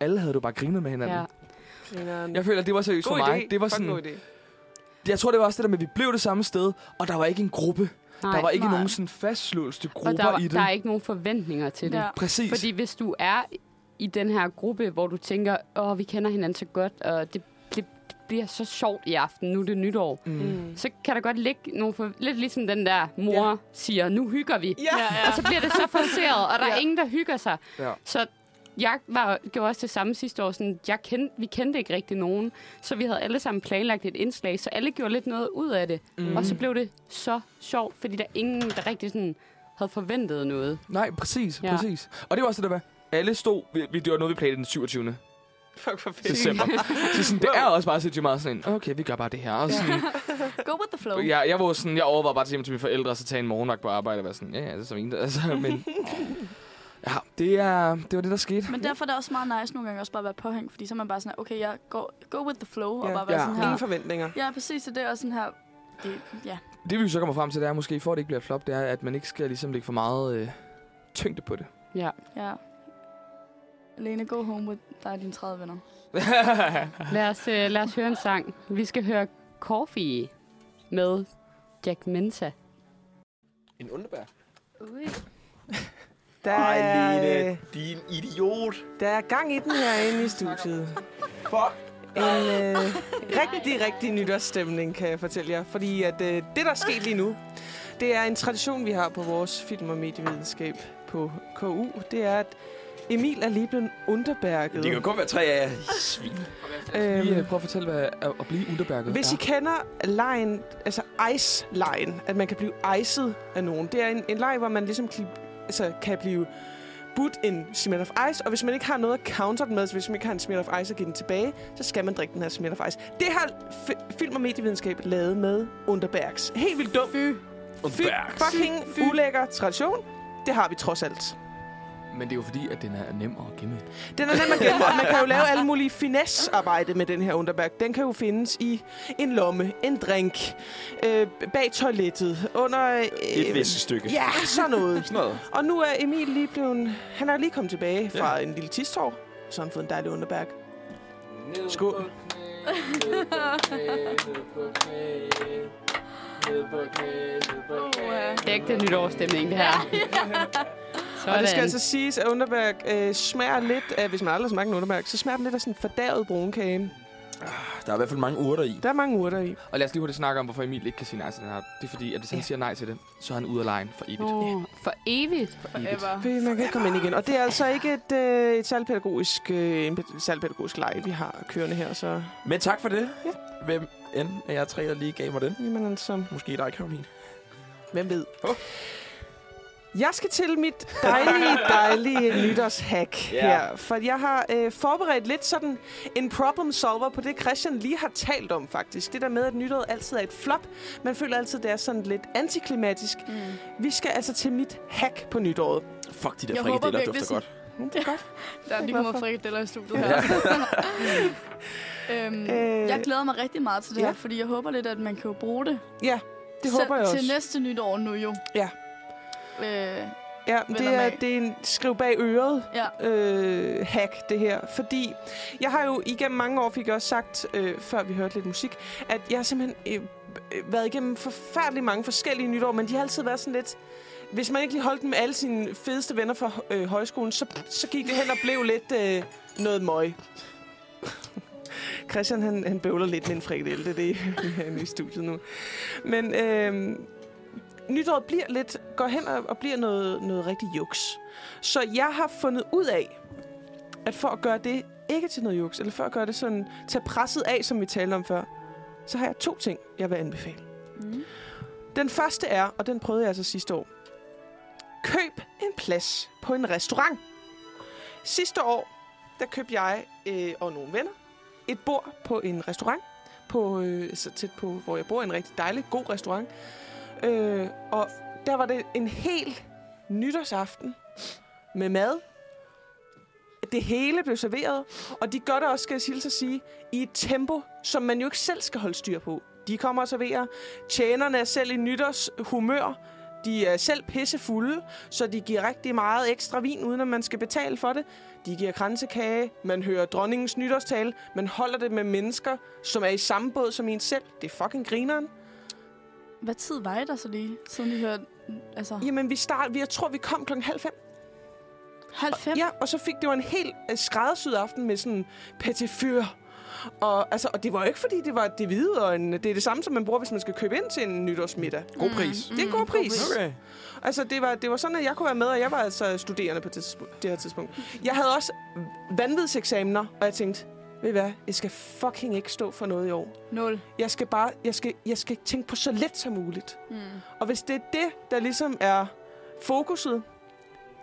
F: alle havde du bare grinet med hinanden.
E: Ja.
F: Ja. Jeg føler, det var seriøst
B: god
F: for mig.
B: idé.
F: Det var
B: Fuck
F: sådan,
B: god idé.
F: jeg tror, det var også det der med, at vi blev det samme sted, og der var ikke en gruppe. Nej, der var ikke
C: nej.
F: nej. nogen sådan fastlåste
E: og
F: grupper
E: der, var-
F: i det.
E: der er ikke nogen forventninger til det.
C: Ja.
F: Præcis.
E: Fordi hvis du er i den her gruppe, hvor du tænker, åh, vi kender hinanden så godt, og det, det, det bliver så sjovt i aften, nu er det nytår,
F: Mm.
E: så kan der godt ligge nogle for... Lidt ligesom den der mor
B: Ja.
E: ja. siger, nu hygger vi.
B: Ja.
C: Ja,
E: Og så bliver det så forceret, og der er
B: Ja.
E: ingen, der hygger sig.
F: Ja.
E: Så jeg var, gjorde også det samme sidste år. Sådan, jeg kendte, vi kendte ikke rigtig nogen, så vi havde alle sammen planlagt et indslag, så alle gjorde lidt noget ud af det. Mm. Og så blev det så sjovt, fordi der er ingen, der rigtig sådan, havde forventet noget.
F: Nej, præcis, ja.
E: Ja.
F: præcis. Og det var også det der med, alle stod, vi, vi- det var noget, vi planlagde den 27.
B: Fuck, hvor fedt.
F: december. så sådan, det er også bare sindssygt meget sådan en, okay, vi gør bare det her. Og sådan,
C: Go with the flow.
F: jeg, jeg, var sådan, jeg overvejede bare til hjem til mine forældre, og så tage en morgenvagt på arbejde og være sådan, ja, ja, det er så fint. Altså, men, ja, det, er, det var det, der skete.
C: Men derfor er det også meget nice nogle gange også bare at være påhæng, fordi så er man bare sådan, okay, jeg går go with the flow, og
B: Ja.
C: bare være
F: Ja.
C: sådan
B: Ingen
C: her.
B: forventninger.
C: Ja, præcis, så det er også sådan her. Det, ja.
F: Det vi så kommer frem til, det er måske, for at det ikke bliver et flop, det er, at man ikke skal ligesom lægge for meget øh, tyngde på det.
C: ja. Lene, go home with dig og dine 30 venner.
E: Lad os, øh, lad os høre en sang. Vi skal høre Coffee med Jack Mensa.
A: En underbær.
C: Ui.
B: Der
A: Ej,
B: er, øh,
A: Lene, din idiot.
B: der er gang i den herinde i studiet.
A: Fuck.
B: En øh, rigtig, rigtig nytårsstemning, kan jeg fortælle jer. Fordi at, øh, det, der er sket lige nu, det er en tradition, vi har på vores film- og medievidenskab på KU. Det er, at Emil er lige blevet underbærket.
A: Det kan kun være tre af jer. Svin.
F: Øhm. Lige,
B: Øhm,
F: øh, prøv at fortælle, hvad at, at blive underbærket
B: Hvis I
F: er.
B: kender lejen, altså ice lejen, at man kan blive iced af nogen. Det er en, en leg, hvor man ligesom kan, altså, kan blive budt en Smith of Ice, og hvis man ikke har noget at counter den med, så hvis man ikke har en Smith of Ice at give den tilbage, så skal man drikke den her Smith of Ice. Det har fi- film- og medievidenskab lavet med Underbergs. Helt vildt dum. Fy.
A: Underbergs.
B: Fucking Fy. ulækker tradition. Det har vi trods alt.
F: Men det er jo fordi, at den er nem at gemme.
B: Den er nem at gemme, og man kan jo lave alle mulige finesse-arbejde med den her underbærk. Den kan jo findes i en lomme, en drink, øh, bag toilettet, under... Øh,
A: Et vissestykke.
B: Ja, sådan noget.
A: Sådan noget.
B: Og nu er Emil lige blevet... Han er lige kommet tilbage fra en lille tistår, så han har fået en dejlig underbærk. Skål.
E: Det er ikke den nytårsstemning, det her. Sådan.
B: Og det skal altså siges, at underbærk øh, smager lidt af... Hvis man aldrig smager en underbærk, så smager den lidt af sådan en fordavet brunkage.
A: Der er i hvert fald mange urter i.
B: Der er mange urter i.
F: Og lad os lige hurtigt snakke om, hvorfor Emil ikke kan sige nej til den her. Det er fordi, at hvis han
B: Ja.
F: siger nej til den, så er han ude af lejen for evigt.
E: Åh, Uh, for evigt.
F: For evigt.
B: Fordi man kan ikke komme ind igen. Og det er altså ikke et, øh, et særligt pædagogisk, øh, en pæ- særlig pædagogisk leg, vi har kørende her. Så
A: Men tak for det. Hvem end af jer tre, der lige gav mig den.
B: jamen altså,
A: Måske dig, Karoline.
B: hvem ved.
A: Åh.
B: Jeg skal til mit dejlige, dejlige nytårshack
A: Ja.
B: yeah. her. For jeg har øh, forberedt lidt sådan en problem solver på det, Christian lige har talt om faktisk. Det der med, at nytåret altid er et flop. Man føler altid, det er sådan lidt antiklimatisk.
C: Mm.
B: Vi skal altså til mit hack på nytåret.
A: Fuck, de der
C: Jeg
A: frikadeller dufter
C: håber virkelig,
A: godt.
B: Mm, det er godt.
C: Der lige kommer frikadeller i studiet her. øhm,
B: Øh.
C: jeg glæder mig rigtig meget til det
B: Ja.
C: her, fordi jeg håber lidt, at man kan jo bruge det.
B: Det
C: Selv
B: håber jeg
C: Til
B: også.
C: næste nytår nu jo.
B: Ja.
C: Øh,
B: Ja,
C: vel
B: det
C: og
B: er,
C: mag.
B: det er en skriv bag øret
C: ja.
B: øh, hack, det her. Fordi jeg har jo igennem mange år, fik jeg også sagt, øh, før vi hørte lidt musik, at jeg har simpelthen øh, øh, været igennem forfærdelig mange forskellige nytår, men de har altid været sådan lidt... Hvis man ikke lige holdt dem alle sine fedeste venner fra øh, højskolen, så, så gik det hen og blev lidt øh, noget møg. Christian, han, han bøvler lidt med en frikadelle, det er det, vi er i studiet nu. Men øh, nytåret bliver lidt, går hen og, og bliver noget, noget rigtig juks. Så jeg har fundet ud af, at for at gøre det ikke til noget juks, eller for at gøre det sådan, tage presset af, som vi talte om før, så har jeg to ting, jeg vil anbefale.
C: Mm.
B: Den første er, og den prøvede jeg altså sidste år, køb en plads på en restaurant. Sidste år, der købte jeg øh, og nogle venner et bord på en restaurant, på, øh, så tæt på, hvor jeg bor, en rigtig dejlig, god restaurant. Øh, og der var det en hel nytårsaften med mad. Det hele blev serveret, og de gør det også, skal jeg hilse at sige, i et tempo, som man jo ikke selv skal holde styr på. De kommer og serverer. Tjenerne er selv i nytårshumør. De er selv pissefulde, så de giver rigtig meget ekstra vin, uden at man skal betale for det. De giver kransekage, man hører dronningens nytårstale, man holder det med mennesker, som er i samme båd som en selv. Det er fucking grineren.
C: Hvad tid var I der så lige, siden I hørte... Altså,
B: Jamen, vi start, vi, jeg tror, vi kom klokken halv fem.
C: halv fem?
B: Ja, og så fik det var en helt øh, skræddersyet aften med sådan petifyr. Og, altså, og det var jo ikke, fordi det var det hvide øjne. Det er det samme, som man bruger, hvis man skal købe ind til en nytårsmiddag.
A: God pris.
C: Mm.
B: Det er en god pris.
A: Okay.
B: Altså, det var, det var sådan, at jeg kunne være med, og jeg var altså studerende på tidspunkt, det her tidspunkt. Jeg havde også vanvidseksamener, og jeg tænkte, ved I hvad, jeg skal fucking ikke stå for noget i år.
C: Nul.
B: Jeg skal bare, jeg skal, jeg skal tænke på så let som muligt.
C: Mm.
B: Og hvis det er det, der ligesom er fokuset,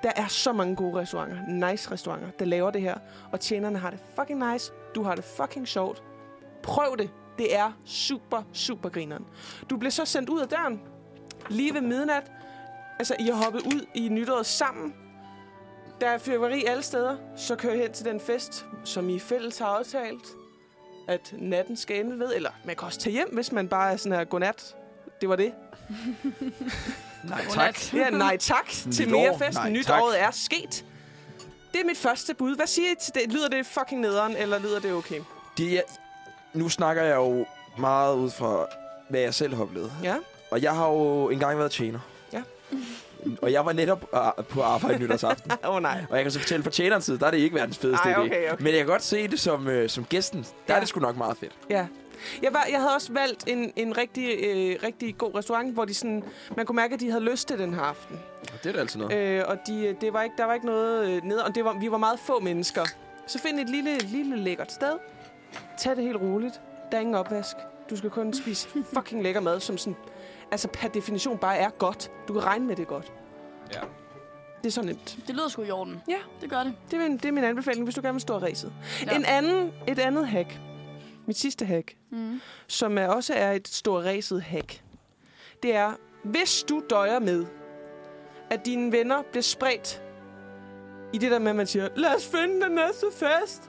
B: der er så mange gode restauranter, nice restauranter, der laver det her, og tjenerne har det fucking nice, du har det fucking sjovt. Prøv det. Det er super, super grineren. Du bliver så sendt ud af døren lige ved midnat. Altså, I har hoppet ud i nytåret sammen. Der er fyrværkeri alle steder. Så kører I hen til den fest, som I fælles har aftalt, at natten skal ende ved. Eller man kan også tage hjem, hvis man bare er sådan her, godnat. Det var det.
A: Nej, tak.
B: Ja, nej tak til
A: Nytår.
B: mere fest.
A: Nej,
B: Nej,
A: tak.
B: Nytåret er sket. Det er mit første bud. Hvad siger I til det? Lyder det fucking nederen, eller lyder det okay?
A: Det er, nu snakker jeg jo meget ud fra, hvad jeg selv har oplevet.
B: Ja.
A: Og jeg har jo engang været tjener.
B: Ja.
A: Og jeg var netop ah, på arbejde nytårsaften.
B: Åh oh, nej.
A: Og jeg kan så fortælle, fra tjenerens side, der er det ikke verdens fedeste
B: Ej,
A: idé.
B: okay, okay.
A: Men jeg kan godt se det som, øh, som gæsten. Der
B: Ja.
A: er det sgu nok meget fedt.
B: Ja. Jeg, var, jeg havde også valgt en, en rigtig, øh, rigtig god restaurant, hvor de sådan, man kunne mærke, at de havde lyst til den her aften.
A: Og det er da altid noget.
B: Øh, og de, øh, det var ikke, der var ikke noget øh, ned, og det var, vi var meget få mennesker. Så find et lille, lille lækkert sted. Tag det helt roligt. Der er ingen opvask. Du skal kun spise fucking lækker mad, som sådan, altså per definition bare er godt. Du kan regne med det er godt.
F: Ja.
B: Det er så nemt.
C: Det lyder sgu i orden.
B: Ja.
C: Det gør det.
B: Det er min, det er min anbefaling, hvis du gerne vil stå og ræset.
C: Ja.
B: Ja. En anden, et andet hack. Mit sidste hack.
C: Mm.
B: som er, også er et storræset hack, det er, hvis du døjer med, at dine venner bliver spredt i det der med, at man siger, lad os finde den næste fest.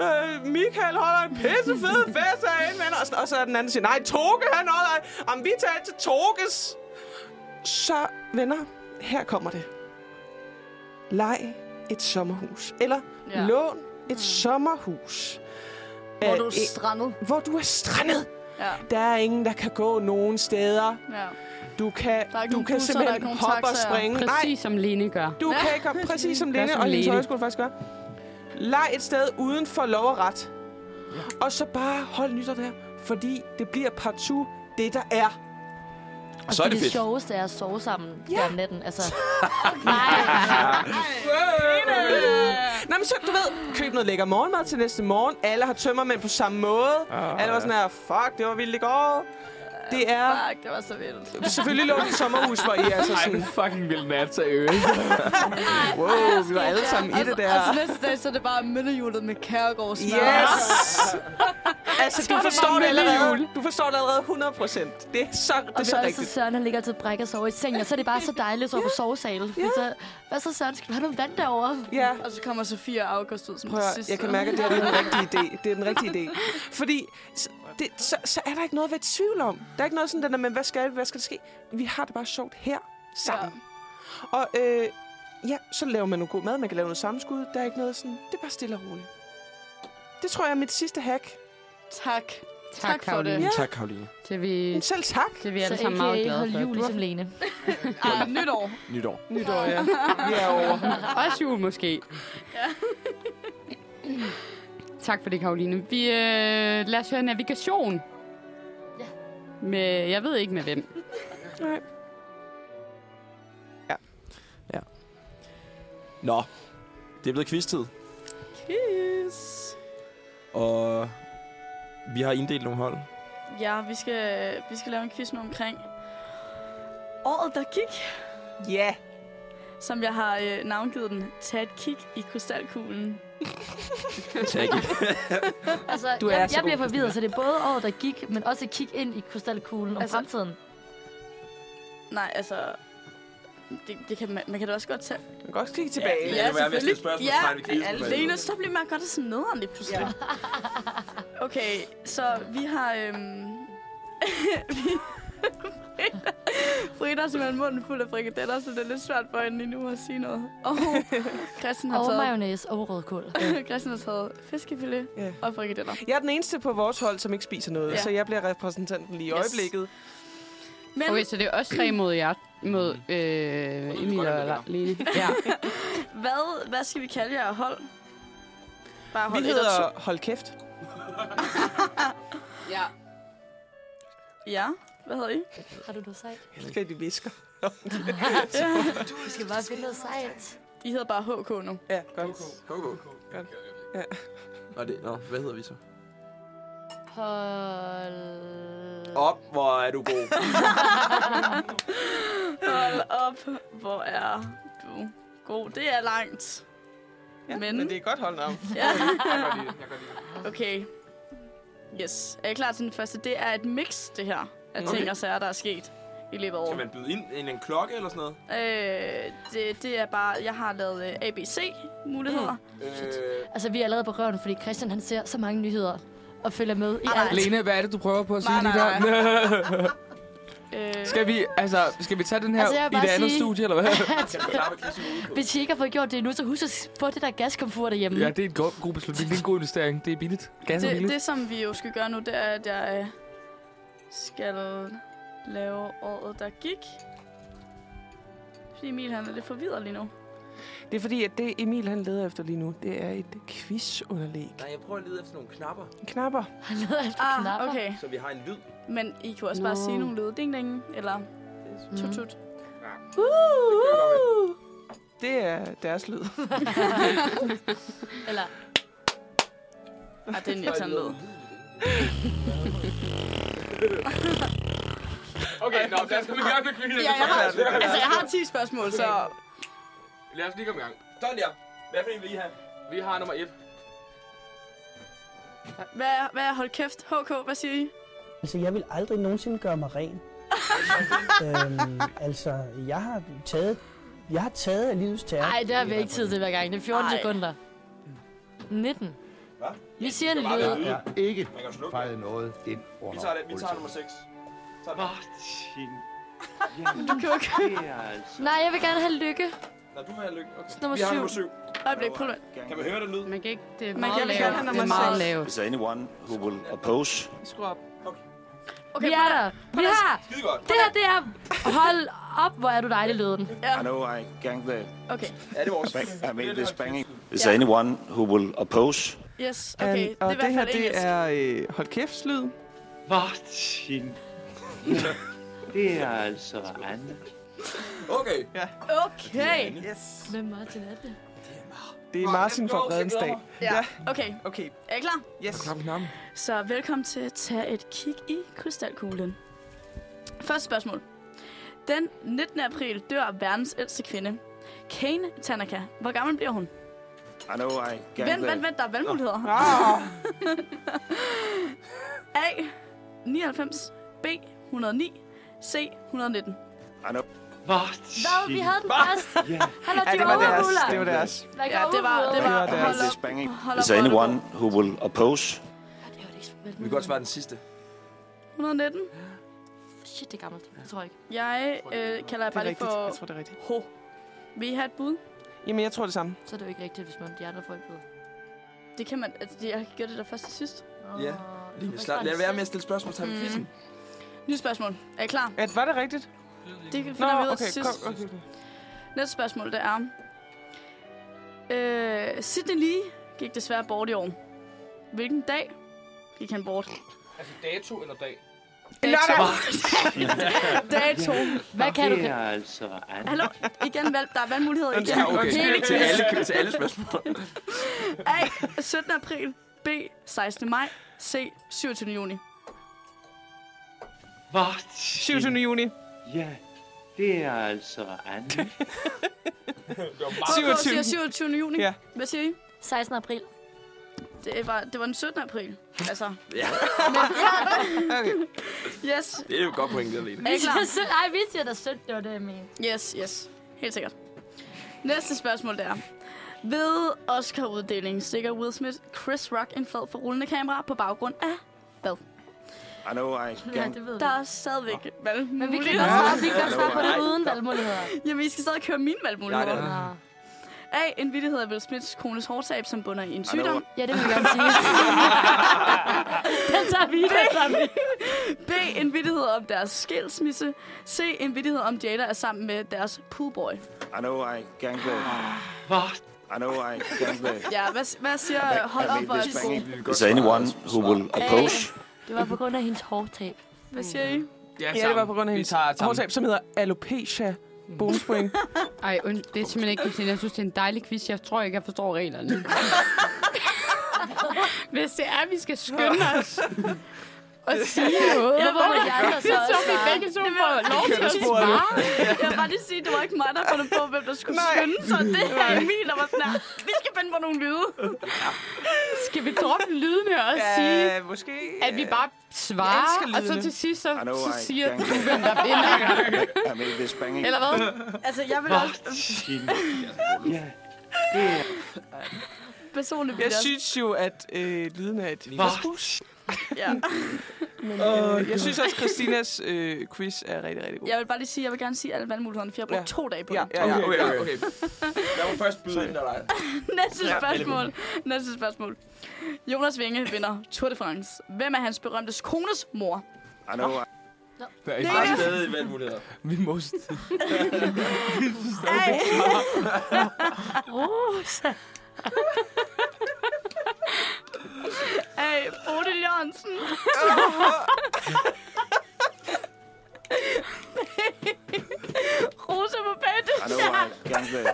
B: Øh, Michael holder en pissefed fest herinde, venner. Og, sådan- og så er den anden siger, nej, Toge han holder, jamen vi tager til Toges. Så, venner, her kommer det. Leg et sommerhus. Eller ja.
C: Ja. Mm.
B: lån et sommerhus.
C: Hvor
B: af
C: du er
B: en-
C: strandet.
B: hvor du er strandet.
C: Ja.
B: Der er ingen, der kan gå nogen steder.
C: ja.
B: Du kan,
C: Der er ikke
B: du
C: nogen
B: kan
C: busser, der er
B: simpelthen
C: ikke nogen
B: hoppe og
C: taxaer.
B: springe. Nej,
E: Præcis som Lene gør.
B: du kan ikke hoppe præcis som
E: Gør
B: Lene
E: som
B: og hendes
E: Lene.
B: højskole faktisk gør. Leg et sted uden for lov og ret. Og så bare hold nytter der, fordi det bliver partout det, der er.
A: Og så er det
G: det
A: fedt.
G: sjoveste er at sove sammen ja. der om natten. Altså,
B: Nå, men så, du ved, køb noget lækker morgenmad til næste morgen. Alle har tømmermænd på samme måde.
F: Ah,
B: Alle var sådan her, fuck, det var vildt i går. Det er
C: Fuck, det var så vildt.
B: selvfølgelig lånt et sommerhus, hvor I er så
F: Ej,
B: sådan,
F: men fucking vild nat, øl.
B: wow, vi var alle sammen i det der.
C: Altså næste dag, så er det bare middagjulet med kærgårds.
B: Yes! altså, du
E: det
B: forstår
E: var
B: det allerede.
E: middeljul.
B: Du forstår det allerede 100 procent. Det er så, det
G: og
B: er
G: hvis
B: så
G: også
B: rigtigt.
G: Søren han ligger altid og brækker sig over i sengen, og så er det bare så dejligt at sove på sovesalen. Ja. Så, hvad så Søren, skal du have noget vand derovre?
B: Ja.
C: Og så kommer Sofia og August ud som
B: Prøv
C: det
B: at, høre,
C: sidste.
B: jeg kan mærke, at det her, det er den rigtige idé. Det er den rigtige idé. Fordi s- det, så, så er der ikke noget at være i tvivl om. Der er ikke noget sådan, der, "Nå, men hvad skal, hvad skal der ske? Vi har det bare sjovt her sammen. Ja. Og øh, ja, så laver man noget god mad. Man kan lave noget sammenskud. Der er ikke noget sådan. Det er bare stille og roligt. Det tror jeg er mit sidste hack.
C: Tak. Tak for
E: Karoline.
B: Ja.
A: Tak, Karoline.
E: Til vi,
B: Men selv tak.
E: til vi alle
G: så
E: sammen meget
G: ikke øh,
E: glade
G: holde
E: for.
G: jul
E: Du har-
G: ligesom Lene.
C: Ej, Ah, nytår.
A: Nytår.
B: Nytår, ja. Vi er over.
E: Også jul måske. tak for det, Karoline. Vi, øh, lad os høre navigation.
G: Ja.
E: Med, jeg ved ikke med hvem.
B: Nej.
A: Nå, det er blevet quiz-tid.
C: Yes.
A: Og vi har inddelt nogle hold.
C: Ja, vi skal, vi skal lave en quiz nu omkring året, der gik.
B: Ja.
C: Som jeg har øh, navngivet den. Tag et kig i krystalkuglen.
A: Tak.
G: Altså,
B: Du er
G: jeg,
B: så god,
G: jeg bliver forvirret, så det er både år, der gik, men også kig ind i krystalkuglen om
C: Altså-
G: altså, fremtiden.
C: Nej, altså... Det, det kan man, man kan da også godt tage...
B: Man kan godt kigge tilbage.
A: Ja, det kan være, hvis det er et spørgsmål, så tager vi
C: Ja, det
A: quizzen
C: er
A: bagefter.
C: alene. Så bliver man godt sådan nederen lige pludselig. Ja. Okay, så vi har... Øhm, vi- Frida har simpelthen munden fuld af frikadeller, så det er lidt svært for hende lige nu at sige noget. Og Christian har
G: Og
C: taget,
G: mayonnaise og rødkål.
C: Christian har taget fiskefilet
B: Ja.
C: og frikadeller.
B: Jeg er den eneste på vores hold, som ikke spiser noget,
C: Ja.
B: ja. så jeg bliver repræsentanten lige i
C: Yes.
B: øjeblikket.
C: Men
E: Okay, så det er også tre mod jer. Mod øh, Emil
F: godt, at
E: og Lene. Ja.
C: hvad, hvad skal vi kalde jer hold? Bare hold
B: Vi
C: et og to.
B: hedder Hold Kæft.
E: ja.
C: Ja, hvad hedder I?
G: Har du noget sejt?
B: Skal de visker.
G: Vi skal bare finde noget sejt.
C: I hedder bare HK nu.
B: Ja, godt.
A: Go, go.
B: Godt. Ja.
A: Ja. Nå, det, nå, hvad hedder vi så?
G: Hold...
A: Op, hvor er du god.
C: Hold op, hvor er du god. Det er langt.
B: Ja,
C: Men-
B: men... men det er et godt holdnavn.
C: Ja,
F: Jeg kan godt lide det, jeg kan godt lide det.
C: okay. Yes. Er I klar til den første? Det er et mix, det her, af okay. ting og sager, der er sket i løbet af
A: Skal
C: året.
A: man byde ind en, en klokke eller sådan noget?
C: Øh, det, det er bare, jeg har lavet øh, ABC-muligheder.
A: Øh,
G: Altså, vi er allerede på røven, fordi Christian han ser så mange nyheder og følger med i
C: Nej, nej.
G: alt.
F: Lene, hvad er det, du prøver på at
C: Nej,
F: sige lige
C: nej,
F: der?
B: Mm.
C: Øh,
F: Skal vi, altså, skal vi tage den her
G: Altså, jeg vil
F: i
G: bare
F: det andet
G: sige-
F: studie, eller hvad?
G: Hvis I ikke har fået gjort det endnu, så husk at få det der gaskomfur derhjemme.
F: ja, det er en god, god beslutning. Det er en god investering. Det er billigt. Gas er
C: det,
F: billigt.
C: det, som vi jo skal gøre nu, det er, at jeg øh, skal lave året, der gik. Fordi Emil, han er lidt forvirret lige nu.
B: Det er fordi, at det Emil han leder efter lige nu, det er et quizunderlæg.
H: Nej, jeg prøver at lede efter nogle knapper,
B: Knapper.
G: Han leder efter knapper.
C: Ah, okay.
H: så vi har en lyd.
C: Men I kan også bare
E: Nå.
C: sige nogle lyde ding ding, eller tut tut.
B: Det er deres lyd.
G: Eller,
H: Mm.
C: Ah, det er en irriterende lyd.
F: Okay, nå, lad os komme i gang med kvinden.
C: Ja, jeg har, altså, jeg har 10 spørgsmål, så...
F: Lad os lige komme i gang.
H: Sådan der. Hvad for en vil I have?
F: Vi har nummer et.
C: Hvad er, hvad er hold kæft? HK, hvad siger I?
I: Altså, jeg vil aldrig nogensinde gøre mig ren. øhm, altså, jeg har taget, jeg har taget af livets terror.
G: ej, der har vi ikke tid til hver gang. Det er 14
C: Ej.
G: sekunder. 19.
H: Hvad?
G: Vi siger en
H: bare
G: lyd.
H: være
J: Jeg er ikke
H: Man kan slukke det.
J: fejlet noget ind under
H: Vi tager, det, vi tager nummer 6.
G: Nej, jeg vil gerne have lykke.
H: Nå, du har lykke. Okay.
G: Nummer
H: Vi har
G: 7.
H: nummer 7.
C: Øjeblik, prøv lige.
H: Kan man høre den lyd?
E: Man kan ikke, det er
C: Man kan
E: meget
C: ikke have
E: lavt. Det
B: nummer
E: er meget
C: seks.
E: lavt.
K: Is there anyone who will oppose?
B: Skru op.
C: Okay,
G: Vi er der. Vi har.
H: Skide godt.
G: Det her, det er... Hold op, hvor er du dejlig lyden.
K: I know I ganked the
C: okay.
H: Ja, det er vores.
K: bang. I made this banging. Is
C: Yeah.
K: there anyone who will oppose?
C: Yes, okay. Det
B: og
C: er i
B: det, det
C: hvert
B: her,
C: fald
B: det
C: engelsk.
B: er øh, hold kæft lyd.
H: Okay.
C: Okay.
G: Hvem Martin er det?
B: Det er Martin fra Fredensdag.
C: Ja. Okay,
B: Okay,
C: er I klar?
H: Ah,
B: yes.
C: Så velkommen til at tage et kig i krystalkuglen. Første spørgsmål. Den 19. april dør verdens ældste kvinde. Kane Tanaka. Hvor gammel bliver hun?
K: I know I
C: Vent,
K: ganked
C: vent,
K: the
C: vent. Der er valgmuligheder.
B: Ah,
C: A. 99. B. 109. C. 119.
K: I know
G: Nå, vi havde den først. Han har
B: ja,
G: de
B: det var deres.
G: overhuler.
B: Det var deres.
C: Ja, det var, det var.
K: I
B: Hold
K: made
B: op.
K: this banging.
C: Hold
K: Is
C: op,
K: there
C: hvor er
K: anyone who will oppose?
G: Det var det ikke.
H: Vi kan godt svare den sidste.
C: 119.
G: Shit, det er gammelt. Det tror jeg ikke.
C: Jeg øh, kalder jer
B: Det er
C: bare lige
B: rigtigt.
C: for
B: Jeg tror, det er rigtigt.
C: H. Vil I have et bud?
B: Jamen, jeg tror det samme.
G: Så er det jo ikke rigtigt, hvis man de andre folk ved.
C: Det kan man... Altså, det- jeg gør det der først til sidst.
H: Ja. Line, slap. Lad være med at stille spørgsmål til mm. quizzen.
C: Nyt spørgsmål. Er I klar?
B: At, var det rigtigt?
C: Det kan
B: Nå,
C: finder vi ud af
B: okay,
C: til sidst.
B: kom. Okay.
C: Næste spørgsmål, det er... Øh, Sidney Lee gik desværre bort i år. Hvilken dag gik han bort?
F: Altså dato eller dag?
B: Lørdag!
C: Dato.
G: Hvad kan du?
C: Hallo? Igen, valg. Der er valgmuligheder igen.
H: Ja, okay.
C: Det er ikke
H: Til
C: quiz.
H: alle, til alle spørgsmål.
C: A. 17. april. B. 16. maj. C. 27. juni.
B: 27. juni.
J: er
C: Hvorfor
B: 27.
C: siger 27. juni?
B: Ja.
C: Hvad siger I?
G: 16. april.
C: Det var, det var den 17. april. Altså,
B: Okay.
C: yes.
H: Det er jo et godt point, det Line.
C: Er I klar?
G: Ej, vi siger da 17, det var det, jeg mente.
C: Yes, yes. Helt sikkert. Næste spørgsmål der. Ved Oscar-uddelingen stikker Will Smith Chris Rock en flad for rullende kamera på baggrund af...
K: I know I
G: Ja,
K: ganked
G: det ved
C: Der
G: vi.
C: er stadigvæk ja.
G: Men vi kan
C: valgmuligheder.
G: godt svare, vi kan godt svare på det uden valgmuligheder.
C: Jamen, I skal stadig køre mine valgmuligheder.
H: Nej,
G: Nå.
C: A. En vittighed af Will Smiths kones hårtab, som bunder i en
K: I know
C: sygdom.
G: Ja, det vil jeg gerne sige. den tager vi, den tager vi.
C: B. En vittighed om deres skilsmisse. C. En vittighed om Jada er sammen med deres poolboy.
K: I know I ganked the
J: Ah.
K: I know I ganked the
C: Ja, hvad, hvad siger hold
K: I
C: op,
K: made
C: hvor er
K: this
C: det god?
K: banging. Is there anyone who will oppose?
G: Det var på grund af hendes hårdtab.
C: Hvad siger I?
B: Ja, det var på grund af
F: Vi
B: hendes
F: tager sammen.
B: hårdtab, som hedder alopecia bonuspoint.
E: Ej, und, det er simpelthen ikke Christine. Jeg synes, det er en dejlig quiz. Jeg tror ikke, jeg forstår reglerne. Hvis det er, vi skal skynde os og sige noget,
G: Jeg håber, de andre så
E: så
G: også
E: vi
G: svarer.
E: begge to får lov til at
B: sporet nu.
E: svare.
C: Jeg vil bare lige sige, det var ikke mig, der fandt på, hvem der skulle skynde sig. Det er Emil, der var sådan her, vi skal finde på nogle lyde.
E: Skal vi droppe lydene og sige,
B: Ja, måske.
E: at vi bare
B: Jeg
E: svarer,
B: elsker
E: og så
B: lydene.
E: til sidst,
K: I
E: så,
K: know
E: så
K: I
E: siger du,
K: ganked the
E: hvem der vinder.
K: I made this banging.
E: Eller hvad?
C: Altså, jeg vil også... Personligt vil
B: Jeg
C: jeg også...
B: synes jo, at øh, lyden er et lille hus.
C: Ja.
B: Men,
C: Åh,
B: øh,
C: Gud.
B: jeg synes også, Christinas øh, quiz er rigtig, rigtig god.
C: Jeg vil bare lige sige, jeg vil gerne sige alle valgmulighederne, for jeg har brugt
B: Ja.
C: to dage på
B: Ja,
C: det.
B: ja, ja.
F: Okay, okay,
B: okay.
F: okay.
H: Lad mig først byde ind, eller ej.
C: Næste
H: Ja,
C: spørgsmål. Næste spørgsmål. Jonas Vinge vinder Tour de France. Hvem er hans berømte kones mor?
H: I know, I...
F: Det
H: Der er stadig valgmuligheder.
F: Min most.
C: Ej.
G: Rosa.
C: Ej, Bodil Jørgensen. Rosa på banen.
K: I know I can't play.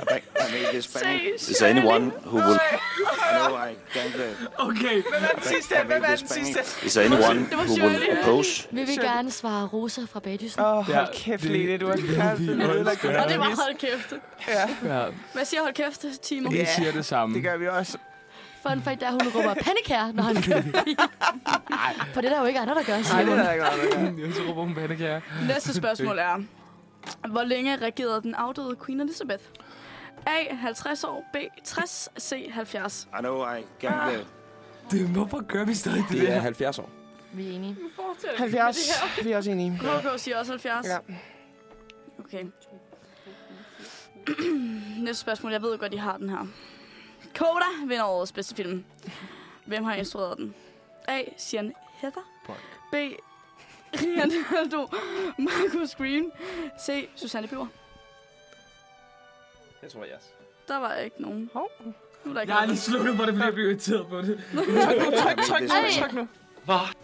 K: I think I made this funny.
C: Se,
K: Is there anyone
C: Shirley.
K: who will? I know I can't play.
F: Okay.
B: Hvem er den sidste?
K: I
B: Hvem
K: made
B: er
K: this
B: den
K: funny.
B: sidste?
K: Is there anyone
C: Det var
K: who will
C: Shirley.
K: oppose?
G: Vi vil
B: Shirley.
G: gerne svare Rosa fra Bagdysen.
B: Åh, oh, hold
F: Ja,
B: kæft,
F: det-
B: Lene, du har
F: vildt
B: kæft.
F: ondskab.
C: Og det var hold kæft.
B: Ja,
F: Ja,
C: Hvad siger hold kæft, Timo?
F: vi siger det samme.
B: det gør vi også.
G: Fun fact er, at hun råber panikær, når han kører forbi. For det er der jo ikke andre, der gør,
B: Nej,
G: siger
B: det
G: hun.
B: er der ikke noget, der gør.
F: Jeg tror, hun pandekager.
C: Næste spørgsmål er, hvor længe regerede den afdøde Queen Elizabeth? A. 50 år, B. 60, C. 70.
K: I know I can't play.
F: Det, hvorfor gør vi stadig det,
A: Det er
F: der?
A: 70 år.
G: Vi er enige.
B: 70, vi er også enige.
C: HK siger også 70.
B: Ja.
C: Okay. Næste spørgsmål. Jeg ved jo godt, I har den her. Koda vinder årets bedste film. Hvem har instrueret den? A. Sian Heather. B. Rian Aldo. Marcus Green. C. Susanne Biver.
H: Jeg tror, yes.
C: Der var ikke nogen.
B: Hov.
C: Nu er der ikke
F: Jeg har
C: nogen.
F: lige slukket for det, fordi jeg blev irriteret på det.
K: I made
B: Tryk
K: this
B: nu,
K: funny.
B: tryk nu.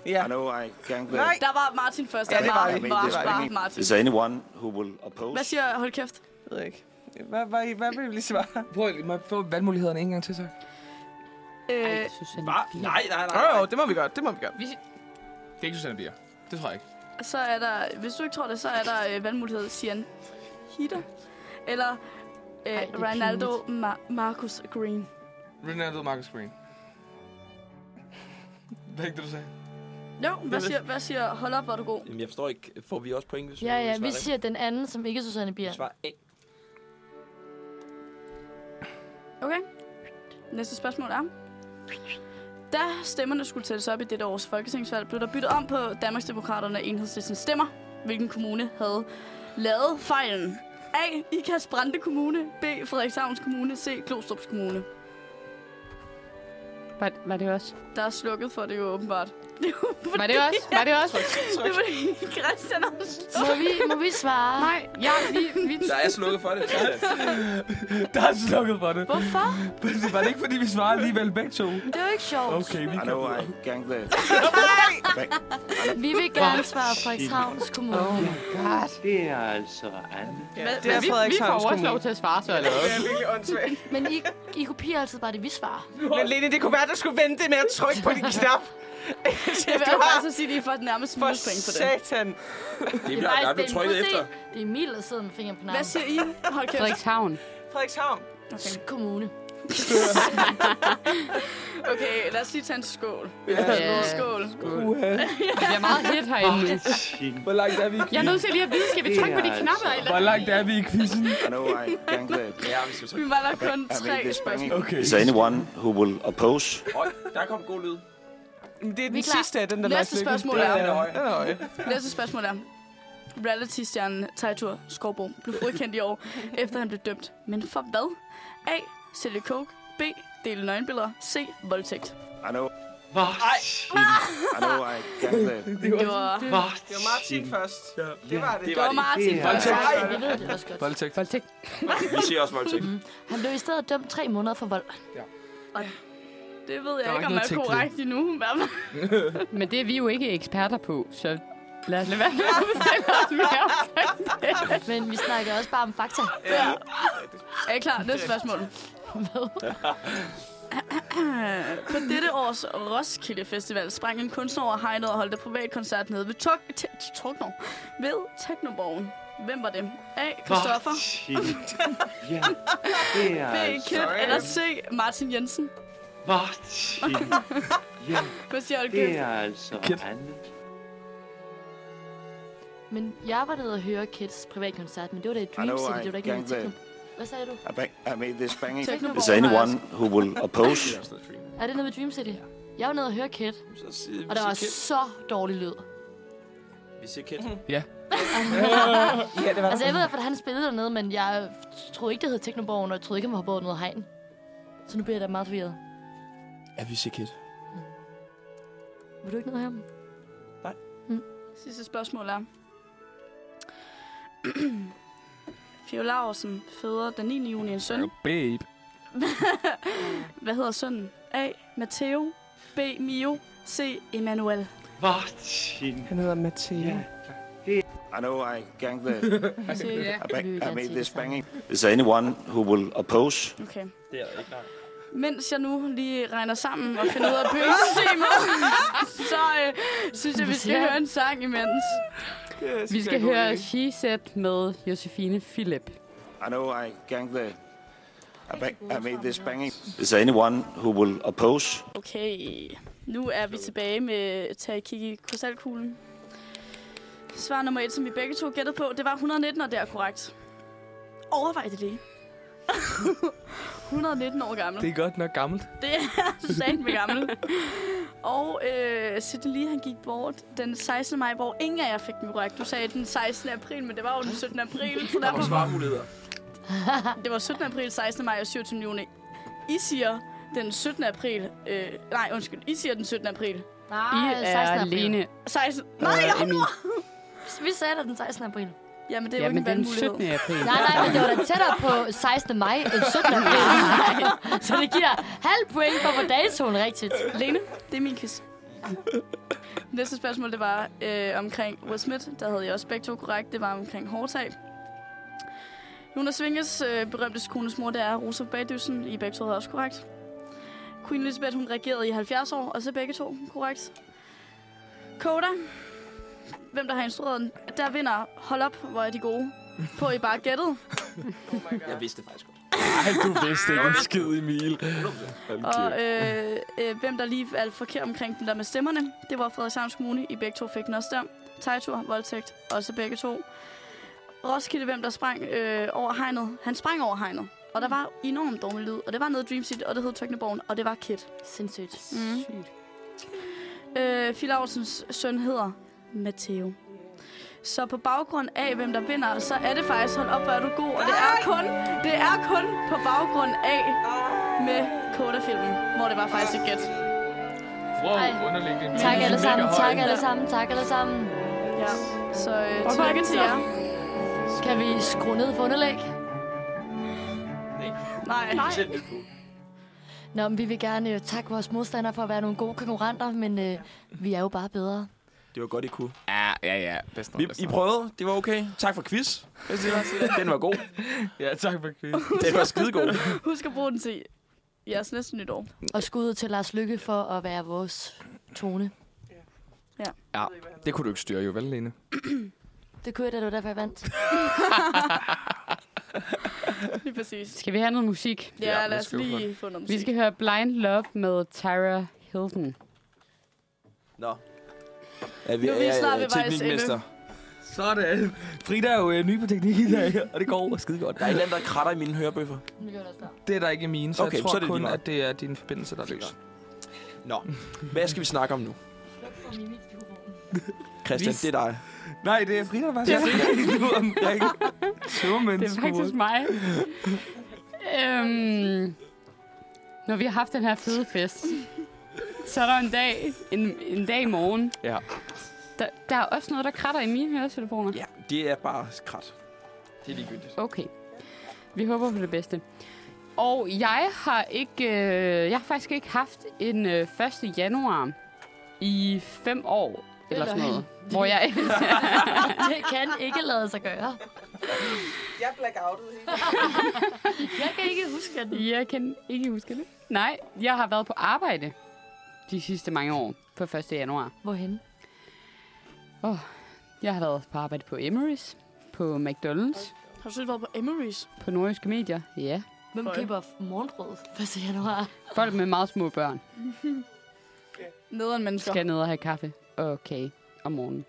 B: Ja.
K: I know I can't play.
B: Nej.
C: Der var Martin først.
B: Ja, det var
C: Bare-
B: vi.
C: bare-
B: Det var
C: bare
K: vi.
C: Martin.
K: Is there anyone who will oppose?
C: Hvad siger hold kæft?
B: Jeg ved ikke. Hvad, hvad, hvad vil vi lige svare?
F: Prøv lige, må jeg få valgmulighederne en gang til, så?
C: Øh,
E: Susanne.
H: Hva? Nej, nej, nej.
B: Jo, jo, det må vi gøre, det må vi gøre.
F: Det er ikke Susanne Bier. Det tror jeg ikke.
C: så er der, hvis du ikke tror det, så er der øh, valgmulighed Sian Hida. Eller øh,
G: Ej, det er
C: Ronaldo Mar- Marcus Green.
F: Ronaldo Marcus Green. Hvad ikke det, du sagde?
C: Jo, hvad
A: ved-
C: siger, hvad siger hold op, hvor er du god?
A: Jamen, jeg forstår ikke. Får vi også point, hvis
G: Ja, ja, vi
A: svarer
G: siger den anden, som ikke er Susanne
A: rigtigt?
G: Bier.
A: Svar A.
C: Okay. Næste spørgsmål er... Da stemmerne skulle tælles op i dette års folketingsvalg, blev der byttet om på Danmarksdemokraterne og Enhedslistens stemmer. Hvilken kommune havde lavet fejlen? A. Ikas Brande Kommune. B. Frederikshavns Kommune. C. Klostrups Kommune.
E: Var, var det også?
C: Der er slukket for det jo åbenbart. Det er jo fordi,
E: Var det også? Var det også?
C: det er fordi Christian har slukket.
G: Må vi, må vi svare?
E: Nej, ja, vi, vi,
H: Der er slukket for det.
F: Der er slukket for det.
G: Hvorfor?
F: Var det ikke, fordi vi svarede alligevel begge to?
G: Det er jo ikke sjovt.
F: Okay, vi
K: I
F: kan...
K: know I can't play.
G: Vi vil gerne svare Frederikshavns Kommune.
J: Det er altså Anne.
B: Ja,
E: Men
B: det er
E: vi, vi får
B: Frederikshavns
E: også
B: Kommune.
E: lov til at svare, så eller
B: Det er virkelig åndssvagt.
G: Men I, I kopierer altid bare det, vi svarer.
B: Men Lene, det kunne være, du skulle vente med at trykke på din knap.
C: Jeg vil
B: du
C: også
B: har
C: altså sige, at I får den nærmeste
B: for
C: minuspoint for det.
B: satan.
H: Det bliver der blev trykket efter.
G: Det er Emil, der sidder med fingeren på
C: Hvad
G: navnet.
C: siger I? Hold kæft.
E: Frederikshavn.
B: Frederikshavn.
C: Okay.
G: Kommune.
C: okay, lad os lige tage en skål.
E: Ja.
C: Skål.
E: Det bliver Øh, meget hit herinde nu.
F: Hvor langt er vi i
E: Jeg er nødt til lige at vide, skal vi trykke på de
J: Det er
E: knapper?
J: altså-
E: Eller?
F: Hvor langt er vi i quizzen?
K: I know I can't play.
H: Ja, vi skal trykke.
C: Vi var der kun
K: I made
C: tre
K: this funny.
C: spørgsmål.
F: Okay.
K: Is there anyone who will oppose?
H: Øj, der kom god lyd.
B: Men Det er
G: Vi
B: den
G: er klar.
B: sidste af den, der
C: Næste
B: var
C: spørgsmål
B: slukket.
C: er-
B: Den høje. Den er høje.
C: Næste spørgsmål er. Reality-stjernen Tejtur Skovbo blev frikendt i år, efter han blev dømt. Men for hvad? A. Sælge coke. B. Dele nøgenbilleder. C. Voldtægt.
K: I know.
J: Hvad?
K: I know I can't play.
C: Det var, det var,
J: Hvad?
C: det
B: Det var Martin først. Det var det.
H: Det
C: var
H: var det.
C: Martin.
J: Det er-
C: Voldtægt.
G: Nej, vi ved det også godt.
F: Voldtægt.
E: Voldtægt. Mm,
H: Vi siger også voldtægt.
G: Han blev i stedet dømt tre måneder for vold.
C: Det ved
F: Der
C: jeg
F: var
C: ikke,
F: ikke
C: om
F: noget
C: jeg er
F: tænkt i
C: korrekt endnu. i hvert fald.
E: Men det er vi jo ikke eksperter på, så lad os lade være med at udtale os mere.
G: Men vi snakker også bare om fakta.
C: Er I klar? Næste spørgsmål. På dette års Roskilde Festival sprang en kunstner over hegnet og holdt et privatkoncert nede ved Tok- Te- Toknov. Ved Teknoborgen. Hvem var det? A. Christoffer.
J: Ja. Det er
C: B.
J: altså...
C: Kip. Eller C. Martin Jensen.
J: Martin. Ja.
C: Hvad siger Olga?
J: Det er altså Anne.
G: Men jeg var nede og høre Kids privatkoncert, men det var da i
K: I
G: Dream
K: know
G: City,
K: I
G: det var da ikke noget
K: can't play.
G: tekno. Hvad sagde du?
K: I, ba- I made this funny.
C: Technoborg
K: Is there
C: har jeg
K: anyone who will oppose?
G: Er det noget med Dream City? Jeg var nede og høre Kat,
H: Så siger,
G: og der var
H: siger
G: så dårlig lyd.
H: Kit. Vi siger Kit.
F: Ja.
G: ja,
H: det var der
G: altså, jeg
H: fandme.
G: ved, at han spillede dernede, men jeg troede ikke, det hed Teknoborgen, og jeg troede ikke, han var hoppet over noget hegn. Så nu bliver jeg da meget forvirret.
A: Er vi sikkert?
G: Vil du ikke ned her?
A: Nej.
G: Mm.
C: Sidste spørgsmål er... Fio Larsen føder den 9. juni en søn.
F: Babe.
C: Hvad hedder sønnen? A. Matteo. B. Mio. C. Emanuel.
J: Martin.
B: Han hedder Matteo.
K: I know I ganked the.
C: Yeah.
K: I, ba- I made this banging.
H: Is there anyone who will oppose?
C: Okay.
H: Det er der ikke, nej.
C: Mens jeg nu lige regner sammen og finder ud af bøgesystemet, så øh, synes jeg, vi skal høre en sang imens.
E: Vi skal høre She Said med Josefine Philip.
K: I know I ganked the. I, ba- I made this banging.
H: Is there anyone who will oppose?
C: Okay, nu er vi tilbage med at tage et kig i krystalkuglen. Svar nummer et, som vi begge to gættede på, det var 119, og det er korrekt. Overvej det lige. 119 år gammel.
F: Det er godt nok gammelt.
C: Det er sandt med gammel. Og øh, Sidney Lee, han gik bort den 16. maj, hvor ingen af jer fik den korrekt. Du sagde den 16. april, men det var jo den 17. april. Så
F: Der var
C: derfor,
F: svarmuligheder.
C: det var 17. april, 16. maj og 27. juni. I siger den 17. april. Øh, nej, undskyld. I siger den 17. april.
G: Nej,
E: I er alene.
C: 16.
F: Øh,
C: Nej, jeg har
E: Emil.
G: Vi sagde da den 16. april.
C: Jamen, det er jo ikke
E: Jamen,
C: en
E: det er den
C: valgmulighed.
E: 17. april.
G: Nej, nej, men det var da tættere på 16. maj end 17. april. Så det giver halv point for, hvor datoen er rigtigt.
C: Lene, det er min quiz. Næste spørgsmål, det var øh, omkring Will Smith. Der havde jeg også begge to korrekt. Det var omkring hårdtab. Jonas Vinges øh, berømte kones mor, det er Rosa Bagdyssen. I begge to havde også korrekt. Queen Elizabeth, hun regerede i 70 år, og så begge to korrekt. Koda, hvem der har instrueret den, der vinder Hold op, hvor er de gode. På I bare gættet.
H: Jeg vidste det faktisk godt.
F: Ej, du vidste ikke en skid, Emil.
C: Og øh, øh, hvem der lige valgte forkert omkring den der med stemmerne, det var Frederikshavns Kommune. I begge to fik den også der. Tejtur, voldtægt, også begge to. Roskilde, hvem der sprang øh, over hegnet. Han sprang over hegnet. Og der var enormt dårlig lyd. Og det var noget Dream City, og det hed Tøkneborgen, og det var Kit.
G: Sindssygt.
C: Mm. Øh, Filausens søn hedder Matteo. Så på baggrund af, hvem der vinder, så er det faktisk, hold op, hvor er du god. Og det er kun, det er kun på baggrund af med Koda-filmen, hvor det var faktisk et gæt.
F: Wow, underlæggende.
G: Tak alle sammen, tak alle sammen, tak alle sammen.
C: Ja, så øh,
G: Og
C: tillykke til
G: godt så.
C: jer.
G: Kan vi skrue ned for underlæg?
C: Nej. Nej.
G: Nå, men vi vil gerne øh, takke vores modstandere for at være nogle gode konkurrenter, men øh, vi er jo bare bedre.
A: Det var godt, I kunne.
F: Ja, ja, ja. Bedst
A: Vi, I prøvede. Det var okay. Tak for quiz. Jeg siger. Den var god.
F: Ja, tak for quiz.
A: Den var skidegod.
C: Husk at bruge den til jeres næste nytår.
G: Og skud til Lars Lykke for at være vores tone.
F: Ja, det kunne du ikke styre jo, vel, Lene?
G: Det kunne jeg da, det var derfor, jeg vandt.
C: Lige præcis.
E: Skal vi have noget musik?
C: Ja,
F: Ja,
C: ja lad
F: lad
C: os
F: os gå for
C: lige få noget
E: Vi
C: musik.
E: skal høre Blind Love med Tyra Hilton.
A: Nå. Er
C: Nu er vi snart ved vejs
A: teknikmester.
F: Så er det. Frida er jo øh, ny på teknik i dag,
E: Mm.
F: og det går skide godt.
A: Der er et eller andet, der kratter i mine hørebøffer.
F: Det er der ikke i mine, så
A: Okay,
F: jeg tror
A: så er det lige
F: det kun,
A: meget.
F: at det er din forbindelse, der er løs.
A: Nå. Hvad skal vi snakke om nu? Christian,
F: Vi-
A: det er dig.
F: Nej, det er Frida, der var det. Det er ikke
E: Det er faktisk mig. øhm, når vi har haft den her fede fest, så er der en dag, en, en dag i morgen,
F: Ja.
E: der, der er også noget, der kratter i mine høretelefoner.
A: Ja, det er bare krat.
F: Det er ligegyldigt.
E: Okay. Vi håber på det bedste. Og jeg har ikke, øh, jeg har faktisk ikke haft en øh, 1. januar i fem år, eller sådan noget. Hvor jeg
G: Det kan ikke lade sig gøre.
B: Jeg blackoutede helt.
G: Jeg kan ikke huske, at
E: Jeg kan ikke huske det. Nej, jeg har været på arbejde de sidste mange år på 1. januar.
G: Hvorhen?
E: Jeg har været på arbejde på Emery's, på McDonald's,
C: Har du selv været på Emery's?
E: på nordiske medier. Ja,
G: Hvem
C: Føj.
G: køber morgenbrød 1. januar?
E: folk med meget små børn
C: Nederen mennesker.
E: skal ned og have kaffe og kage om morgenen.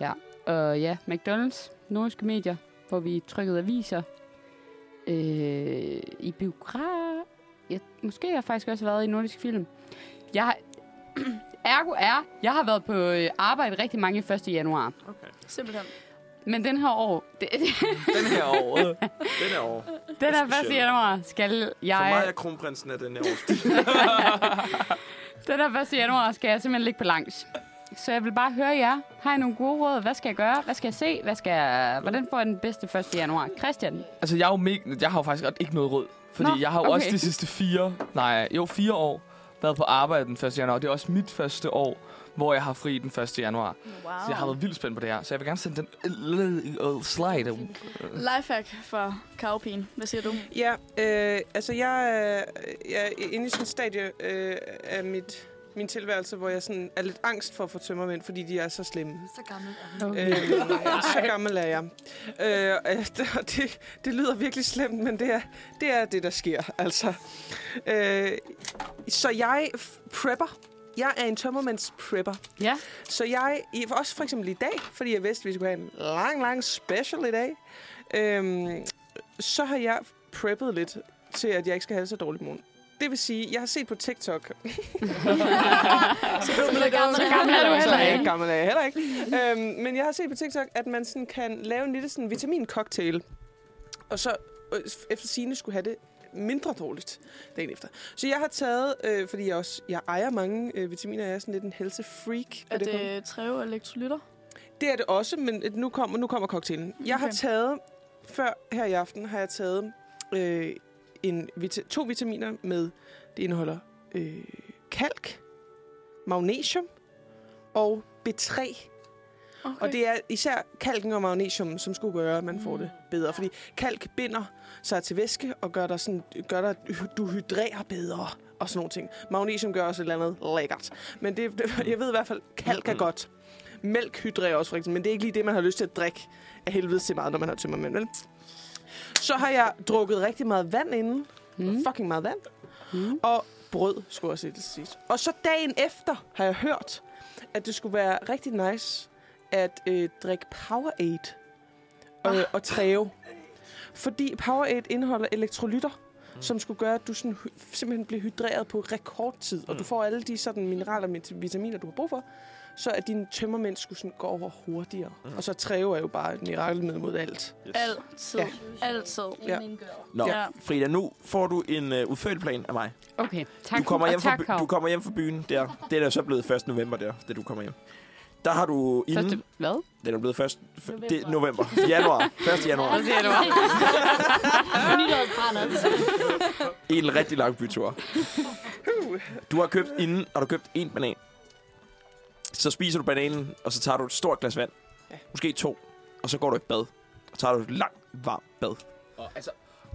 E: Ja, og ja, McDonald's, nordiske medier, hvor vi trykkede aviser øh, i biograf. Ja, måske har jeg faktisk også været i nordisk film. Jeg, Ergo er, jeg har været på øh, arbejde rigtig mange 1. januar.
F: Okay.
C: Simpelthen.
E: Men den her år, det,
F: Den her år. øh, Den her år.
E: den
F: er
E: her 1.
F: speciel.
E: januar skal jeg...
F: For mig er
A: kronprinsen af den her
E: Den her 1. januar skal jeg simpelthen ligge på langs. Så jeg vil bare høre jer. Har I nogle gode råd? Hvad skal jeg gøre? Hvad skal jeg se? Hvad skal jeg... Hvordan får jeg den bedste 1. januar? Christian,
F: Altså, jeg, er jo mega, jeg har jo faktisk ret- ikke noget rød. Fordi
E: Nå,
F: Nå, jeg har jo okay. også
E: okay.
F: de sidste fire, nej, jo fire år, været på arbejde den 1. januar. og Det er også mit første år, hvor jeg har fri den 1. januar. Wow. Så jeg har været vildt spændt på det her. Så jeg vil gerne sende den øh, øh, øh, slide. øh,
C: Lifehack for kavpin. Hvad siger du?
B: Ja, øh, altså jeg, er- jeg er inde i sådan et stadie øh, af mit, min tilværelse, hvor jeg sådan er lidt angst for at få tømmermænd, fordi de er så slemme.
G: Så gammel er
B: Øh, så gammel er jeg. Øh, øh, det- og det, det lyder virkelig slemt, men det er det, er det der sker. Altså. Øh, så jeg f- prepper. Jeg er en tømmermands prepper.
E: Ja.
B: Så jeg, i- også for eksempel i dag, fordi jeg vidste, at vi skulle have en lang, lang special i dag, øhm, så har jeg preppet lidt til, at jeg ikke skal have det så dårligt i morgen. Det vil sige, jeg har set på TikTok.
G: Så gammel
E: Så gammel er
B: Så
E: du heller
B: er jeg
E: ikke.
B: gammel er jeg heller ikke. øhm, men jeg har set på TikTok, at man sådan kan lave en lille sådan vitamincocktail, og så øh, efter sine skulle have det mindre dårligt dagen efter. Så jeg har taget, øh, fordi jeg også jeg ejer mange øh, vitaminer, jeg er sådan lidt en helse-freak. på
C: Er
B: punkt.
C: det øh, træve elektrolytter?
B: Det er det også, men øh, nu kommer, nu kommer cocktailen. Okay. Jeg har
C: Okay.
B: taget, før her i aften, har jeg taget øh, en, vita- to vitaminer med, det indeholder øh, kalk, magnesium og B3.
C: Okay.
B: Og det er især kalken og magnesium, som skulle gøre, at man får det bedre. Fordi kalk binder sig til væske og gør dig, sådan, gør dig du hydrerer bedre og sådan nogle ting. Magnesium gør også et eller andet lækkert. Men det, det, jeg ved i hvert fald, kalk er godt. Mælk hydrerer også, for eksempel, men det er ikke lige det, man har lyst til at drikke af helvede til meget, når man har tømmermænd, vel? Så har jeg drukket rigtig meget vand inden. Mm. Fucking meget vand. Mm. Og brød, skulle jeg også lige til sidst. Og så dagen efter har jeg hørt, at det skulle være rigtig nice at øh, drikke Powerade
E: Ah.
B: og, og træve. Fordi Powerade indeholder elektrolytter,
E: Mm.
B: som skulle gøre, at du sådan, hy- simpelthen bliver hydreret på rekordtid,
E: Mm.
B: og du får alle de sådan, mineraler og mit- vitaminer, du har brug for, så at dine tømmermænd skulle sådan, gå over hurtigere.
E: Mm.
B: Og så træve er jo bare et mirakelmiddel mod alt.
C: Altid.
B: Ja.
C: Altid.
B: Ja.
A: Nå,
C: Ja.
A: ja. Frida, nu får du en uh, udført plan af mig.
E: Okay, tak.
A: du, kommer
E: og
A: hjem
E: tak,
A: fra, by-
E: Kav.
A: du kommer hjem fra byen der. Det er da så blevet 1. november der, da du kommer hjem. Der har du inden...
E: Første, hvad?
A: Den er blevet 1. November. Det,
G: November.
A: november. Januar. 1. januar.
E: siger du?
G: Nytårsbrænder.
A: En rigtig lang bytur. Du har købt inden, og du har købt en banan. Så spiser du bananen, og så tager du et stort glas vand.
B: Ja.
A: Måske to. Og så går du i bad. Og tager du et langt, varmt bad.
F: Og altså,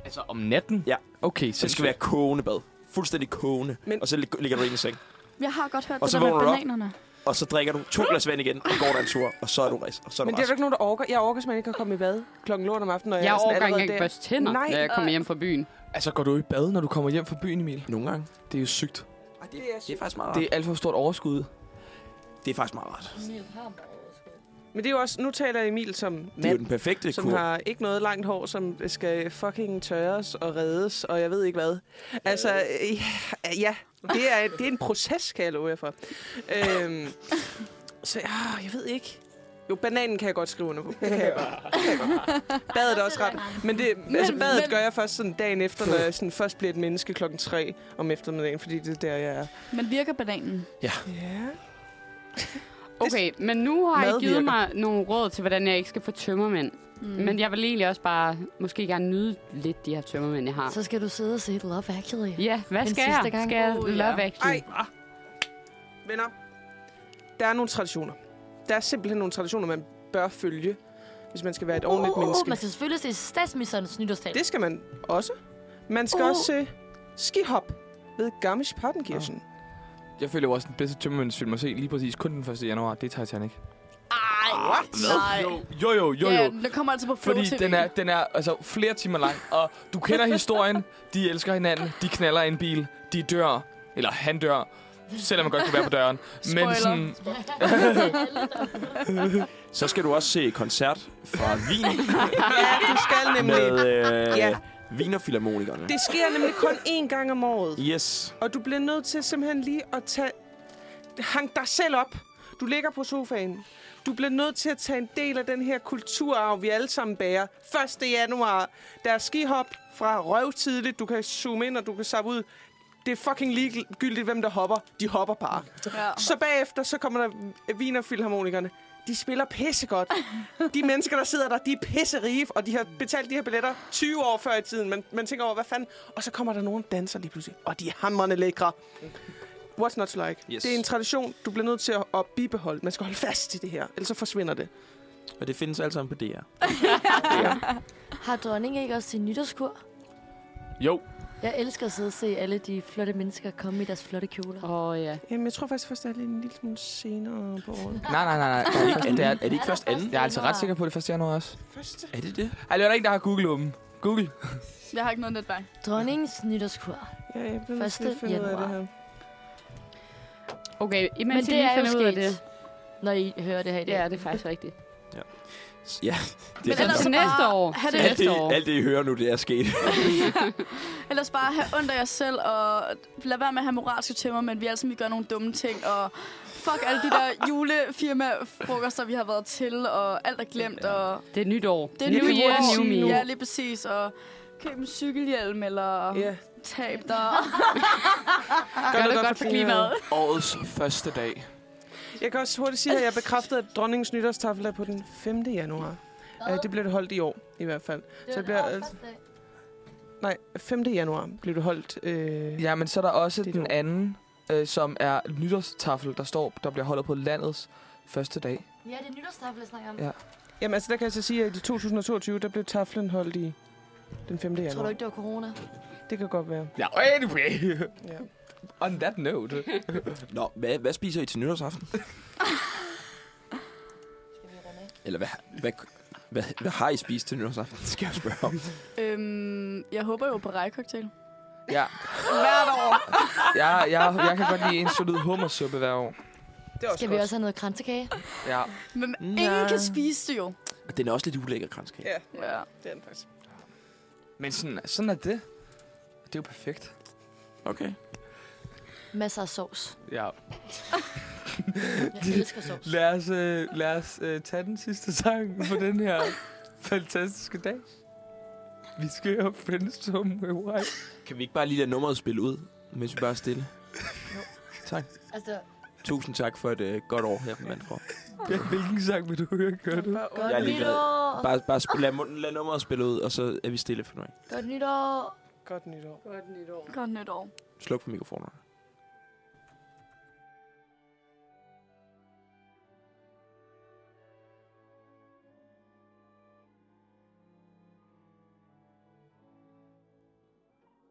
F: altså om natten?
A: Ja.
F: Okay,
A: Så det skal være kogende bad. Fuldstændig kogende.
B: Men-
A: Men... Og så lig- ligger du i din seng.
C: Jeg har godt hørt
A: Og
C: det
A: så
C: der med
A: vågner du op.
C: bananerne.
A: Og så drikker du to glas vand igen, og går der en tur, og så er du res. Og så er du
B: Men det er
A: rask.
B: der ikke nogen, der orker. Jeg orker simpelthen ikke at komme i bad klokken lort om aftenen, og
A: Øh,
B: jeg,
E: Jeg
B: er sådan
E: overgår ikke
B: allerede
E: engang
B: der.
E: børste tænder,
B: Nej.
E: da jeg kommer hjem fra byen.
F: Altså, går du i bad, når du kommer hjem fra byen, Emil?
A: Nogle gange.
F: Det er jo sygt.
A: Ej, det, det, er faktisk meget
F: Det
A: rart.
F: er alt for stort overskud.
A: Det, det er faktisk meget rart.
B: Men det er jo også, nu taler Emil som
A: Det er jo
B: mand,
A: den perfekte
B: som
A: kur.
B: har ikke noget langt hår, som skal fucking tørres og reddes, og jeg ved ikke hvad. Altså, øh, ja, det er, det er en proces, kan jeg love jer for. Øhm, så øh, jeg ved ikke. Jo, bananen kan jeg godt skrive under på. Det kan jeg godt. Det kan jeg godt. Badet er også ret. Men, det, altså, badet gør jeg først sådan dagen efter, når jeg sådan først bliver et menneske klokken 3 om eftermiddagen, fordi det er der, jeg er.
C: Men virker bananen?
B: Ja.
E: Okay, men nu har
B: Mad
E: I givet
B: virker.
E: mig nogle råd til, hvordan jeg ikke skal få tømmermænd. Mm. Men jeg vil egentlig også bare måske gerne nyde lidt de her tømmermænd, jeg har.
G: Så skal du sidde og se Love Actually.
E: Ja, hvad
G: Den
E: skal
G: sidste
E: jeg?
G: gang.
E: Skal jeg
C: Oh, ja.
E: love action?
B: Ej, venner. Der er nogle traditioner. Der er simpelthen nogle traditioner, man bør følge, hvis man skal være et ordentligt menneske.
G: Uh, man skal selvfølgelig se statsministerens nytårstal.
B: Det skal man også. Man skal
G: Uh.
B: også se skihop ved Gamish Partenkirchen.
F: Jeg føler jo også, den bedste tømmermændsfilm at se lige præcis kun den 1. januar, det er Titanic.
C: Ej, nej.
F: Jo, jo, jo,
C: Ja,
F: jo.
C: det kommer altså på Flow
F: Fordi
C: TV.
F: den er, den er altså flere timer lang, og du kender historien. De elsker hinanden, de knaller i en bil, de dør, eller han dør, selvom man godt kan være på døren.
C: Spoiler.
F: Men sådan,
A: Så skal du også se koncert fra Wien
B: Ja, du skal nemlig.
A: med øh,
B: Ja.
A: ja. Wienerfilharmonikerne.
B: Det sker nemlig kun én gang om året.
A: Yes.
B: Og du bliver nødt til simpelthen lige at tage hang dig selv op. Du ligger på sofaen. Du bliver nødt til at tage en del af den her kulturarv, vi alle sammen bærer. 1. januar, der er skihop fra røvtidligt. Du kan zoome ind, og du kan zappe ud. Det er fucking ligegyldigt, hvem der hopper. De hopper bare.
C: Ja.
B: Så bagefter, så kommer der vinerfilharmonikerne. De spiller pissegodt. De mennesker, der sidder der, de er pisserige, og de har betalt de her billetter 20 år før i tiden. Man, man tænker over, hvad fanden? Og så kommer der nogen danser lige pludselig, og de er hammerne lækre. What's not to like?
L: Yes.
B: Det er en tradition, du bliver nødt til at, at bibeholde. Man skal holde fast i det her, ellers så forsvinder det.
L: Og det findes alt sammen på DR.
G: Har dronningen ikke også sin nytårskur?
L: Jo.
G: Jeg elsker at sidde og se alle de flotte mennesker komme i deres flotte kjoler.
E: Åh, oh, ja.
B: Jamen, jeg tror faktisk først, det er lidt en lille smule senere på året.
F: Nej, nej, nej, nej. Er det ikke, andet? det er, er det
B: Er det
F: ikke først
B: første
F: anden? Jeg er altså
B: januar?
F: ret sikker på, det er 1. januar også.
B: Første?
F: Er det det? Ej, det er der ikke, der har Google åben. Google.
C: Jeg har ikke noget netværk.
G: Dronningens nytårskur.
B: Ja, jeg
G: bliver nødt til at finde ud af det her.
E: Okay, imens
G: Men
E: I
G: det
E: lige
G: er jo
E: finder ud af
G: sket,
E: det.
G: Når I hører det her i dag.
E: Ja, det er faktisk rigtigt.
A: Ja,
C: Men ellers
A: sådan.
C: så
E: Næste
C: altså bare
E: år.
C: have det-
A: alt, det, alt det, I hører nu, det er sket.
C: Ellers bare have ondt af jer selv, og lad være med at have moralske tømmer, men vi alle sammen vi gør nogle dumme ting, og fuck alle de der julefirma-frokoster, vi har været til, og alt er glemt, og
E: Det er nyt år.
C: det er nyt
E: new year,
C: år.
E: new me.
C: Ja, lige præcis, og køb en cykelhjelm, eller
B: Ja.
C: tab dig.
E: Ah, Gør det godt for klimaet.
F: Årets første dag.
B: Jeg kan også hurtigt sige, at jeg bekræftede, at dronningens nytårstafel er på den 5. januar. Uh, det bliver det holdt i år, i hvert fald. Så det bliver, øh, nej, 5. januar blev det holdt. Øh,
F: Ja, men så er der også
B: Det er
F: den
B: det.
F: anden, øh, som er nytårstafel, der står, der bliver holdt på landets første dag.
G: Ja, det er nytårstafel, jeg snakker om.
F: Ja.
B: Jamen, altså, der kan jeg så sige, at i 2022, der blev taflen holdt i den 5. januar.
G: Tror du ikke, det var corona?
B: Det kan godt være.
F: Ja, anyway.
B: Ja.
F: On that note.
A: Nå, hvad, hvad spiser I til nytårsaften? Eller hvad, hvad, hvad, hvad har I spist til nytårsaften, skal jeg spørge om.
C: Øhm, jeg håber jo på rejekoktail.
F: Ja,
C: Hvert år.
F: jeg, jeg, jeg kan godt lide en solid hummersuppe hver år.
B: Det er
G: Skal vi også have noget kransekage?
F: Ja.
C: Men ingen kan spise det jo.
A: Og Den er også lidt ulækker kranskage.
B: Ja,
C: Ja.
B: det er den faktisk.
F: Men sådan, sådan er det. Det er jo perfekt.
A: Okay.
G: Masser af sovs.
F: Ja.
G: Jeg elsker sovs.
F: Lad os, øh, lad os øh, tage den sidste sang på den her fantastiske dag. Vi skal jo finde somewhere white.
A: Kan vi ikke bare lige lade nummeret spille ud, mens vi bare er stille? Tak.
G: Altså,
A: Tusind tak for et øh, godt år her på Mandfra.
F: Ja, hvilken sang vil du høre, gør du?
A: Jeg er
G: godt
A: ligeglad.
G: nytår!
A: Bare, bare sp- lad, munden- lad nummeret spille ud, og så er vi stille for nu. af.
G: Godt nytår!
B: Godt nytår.
E: Godt nytår.
C: Godt nytår.
A: Sluk for mikrofonerne.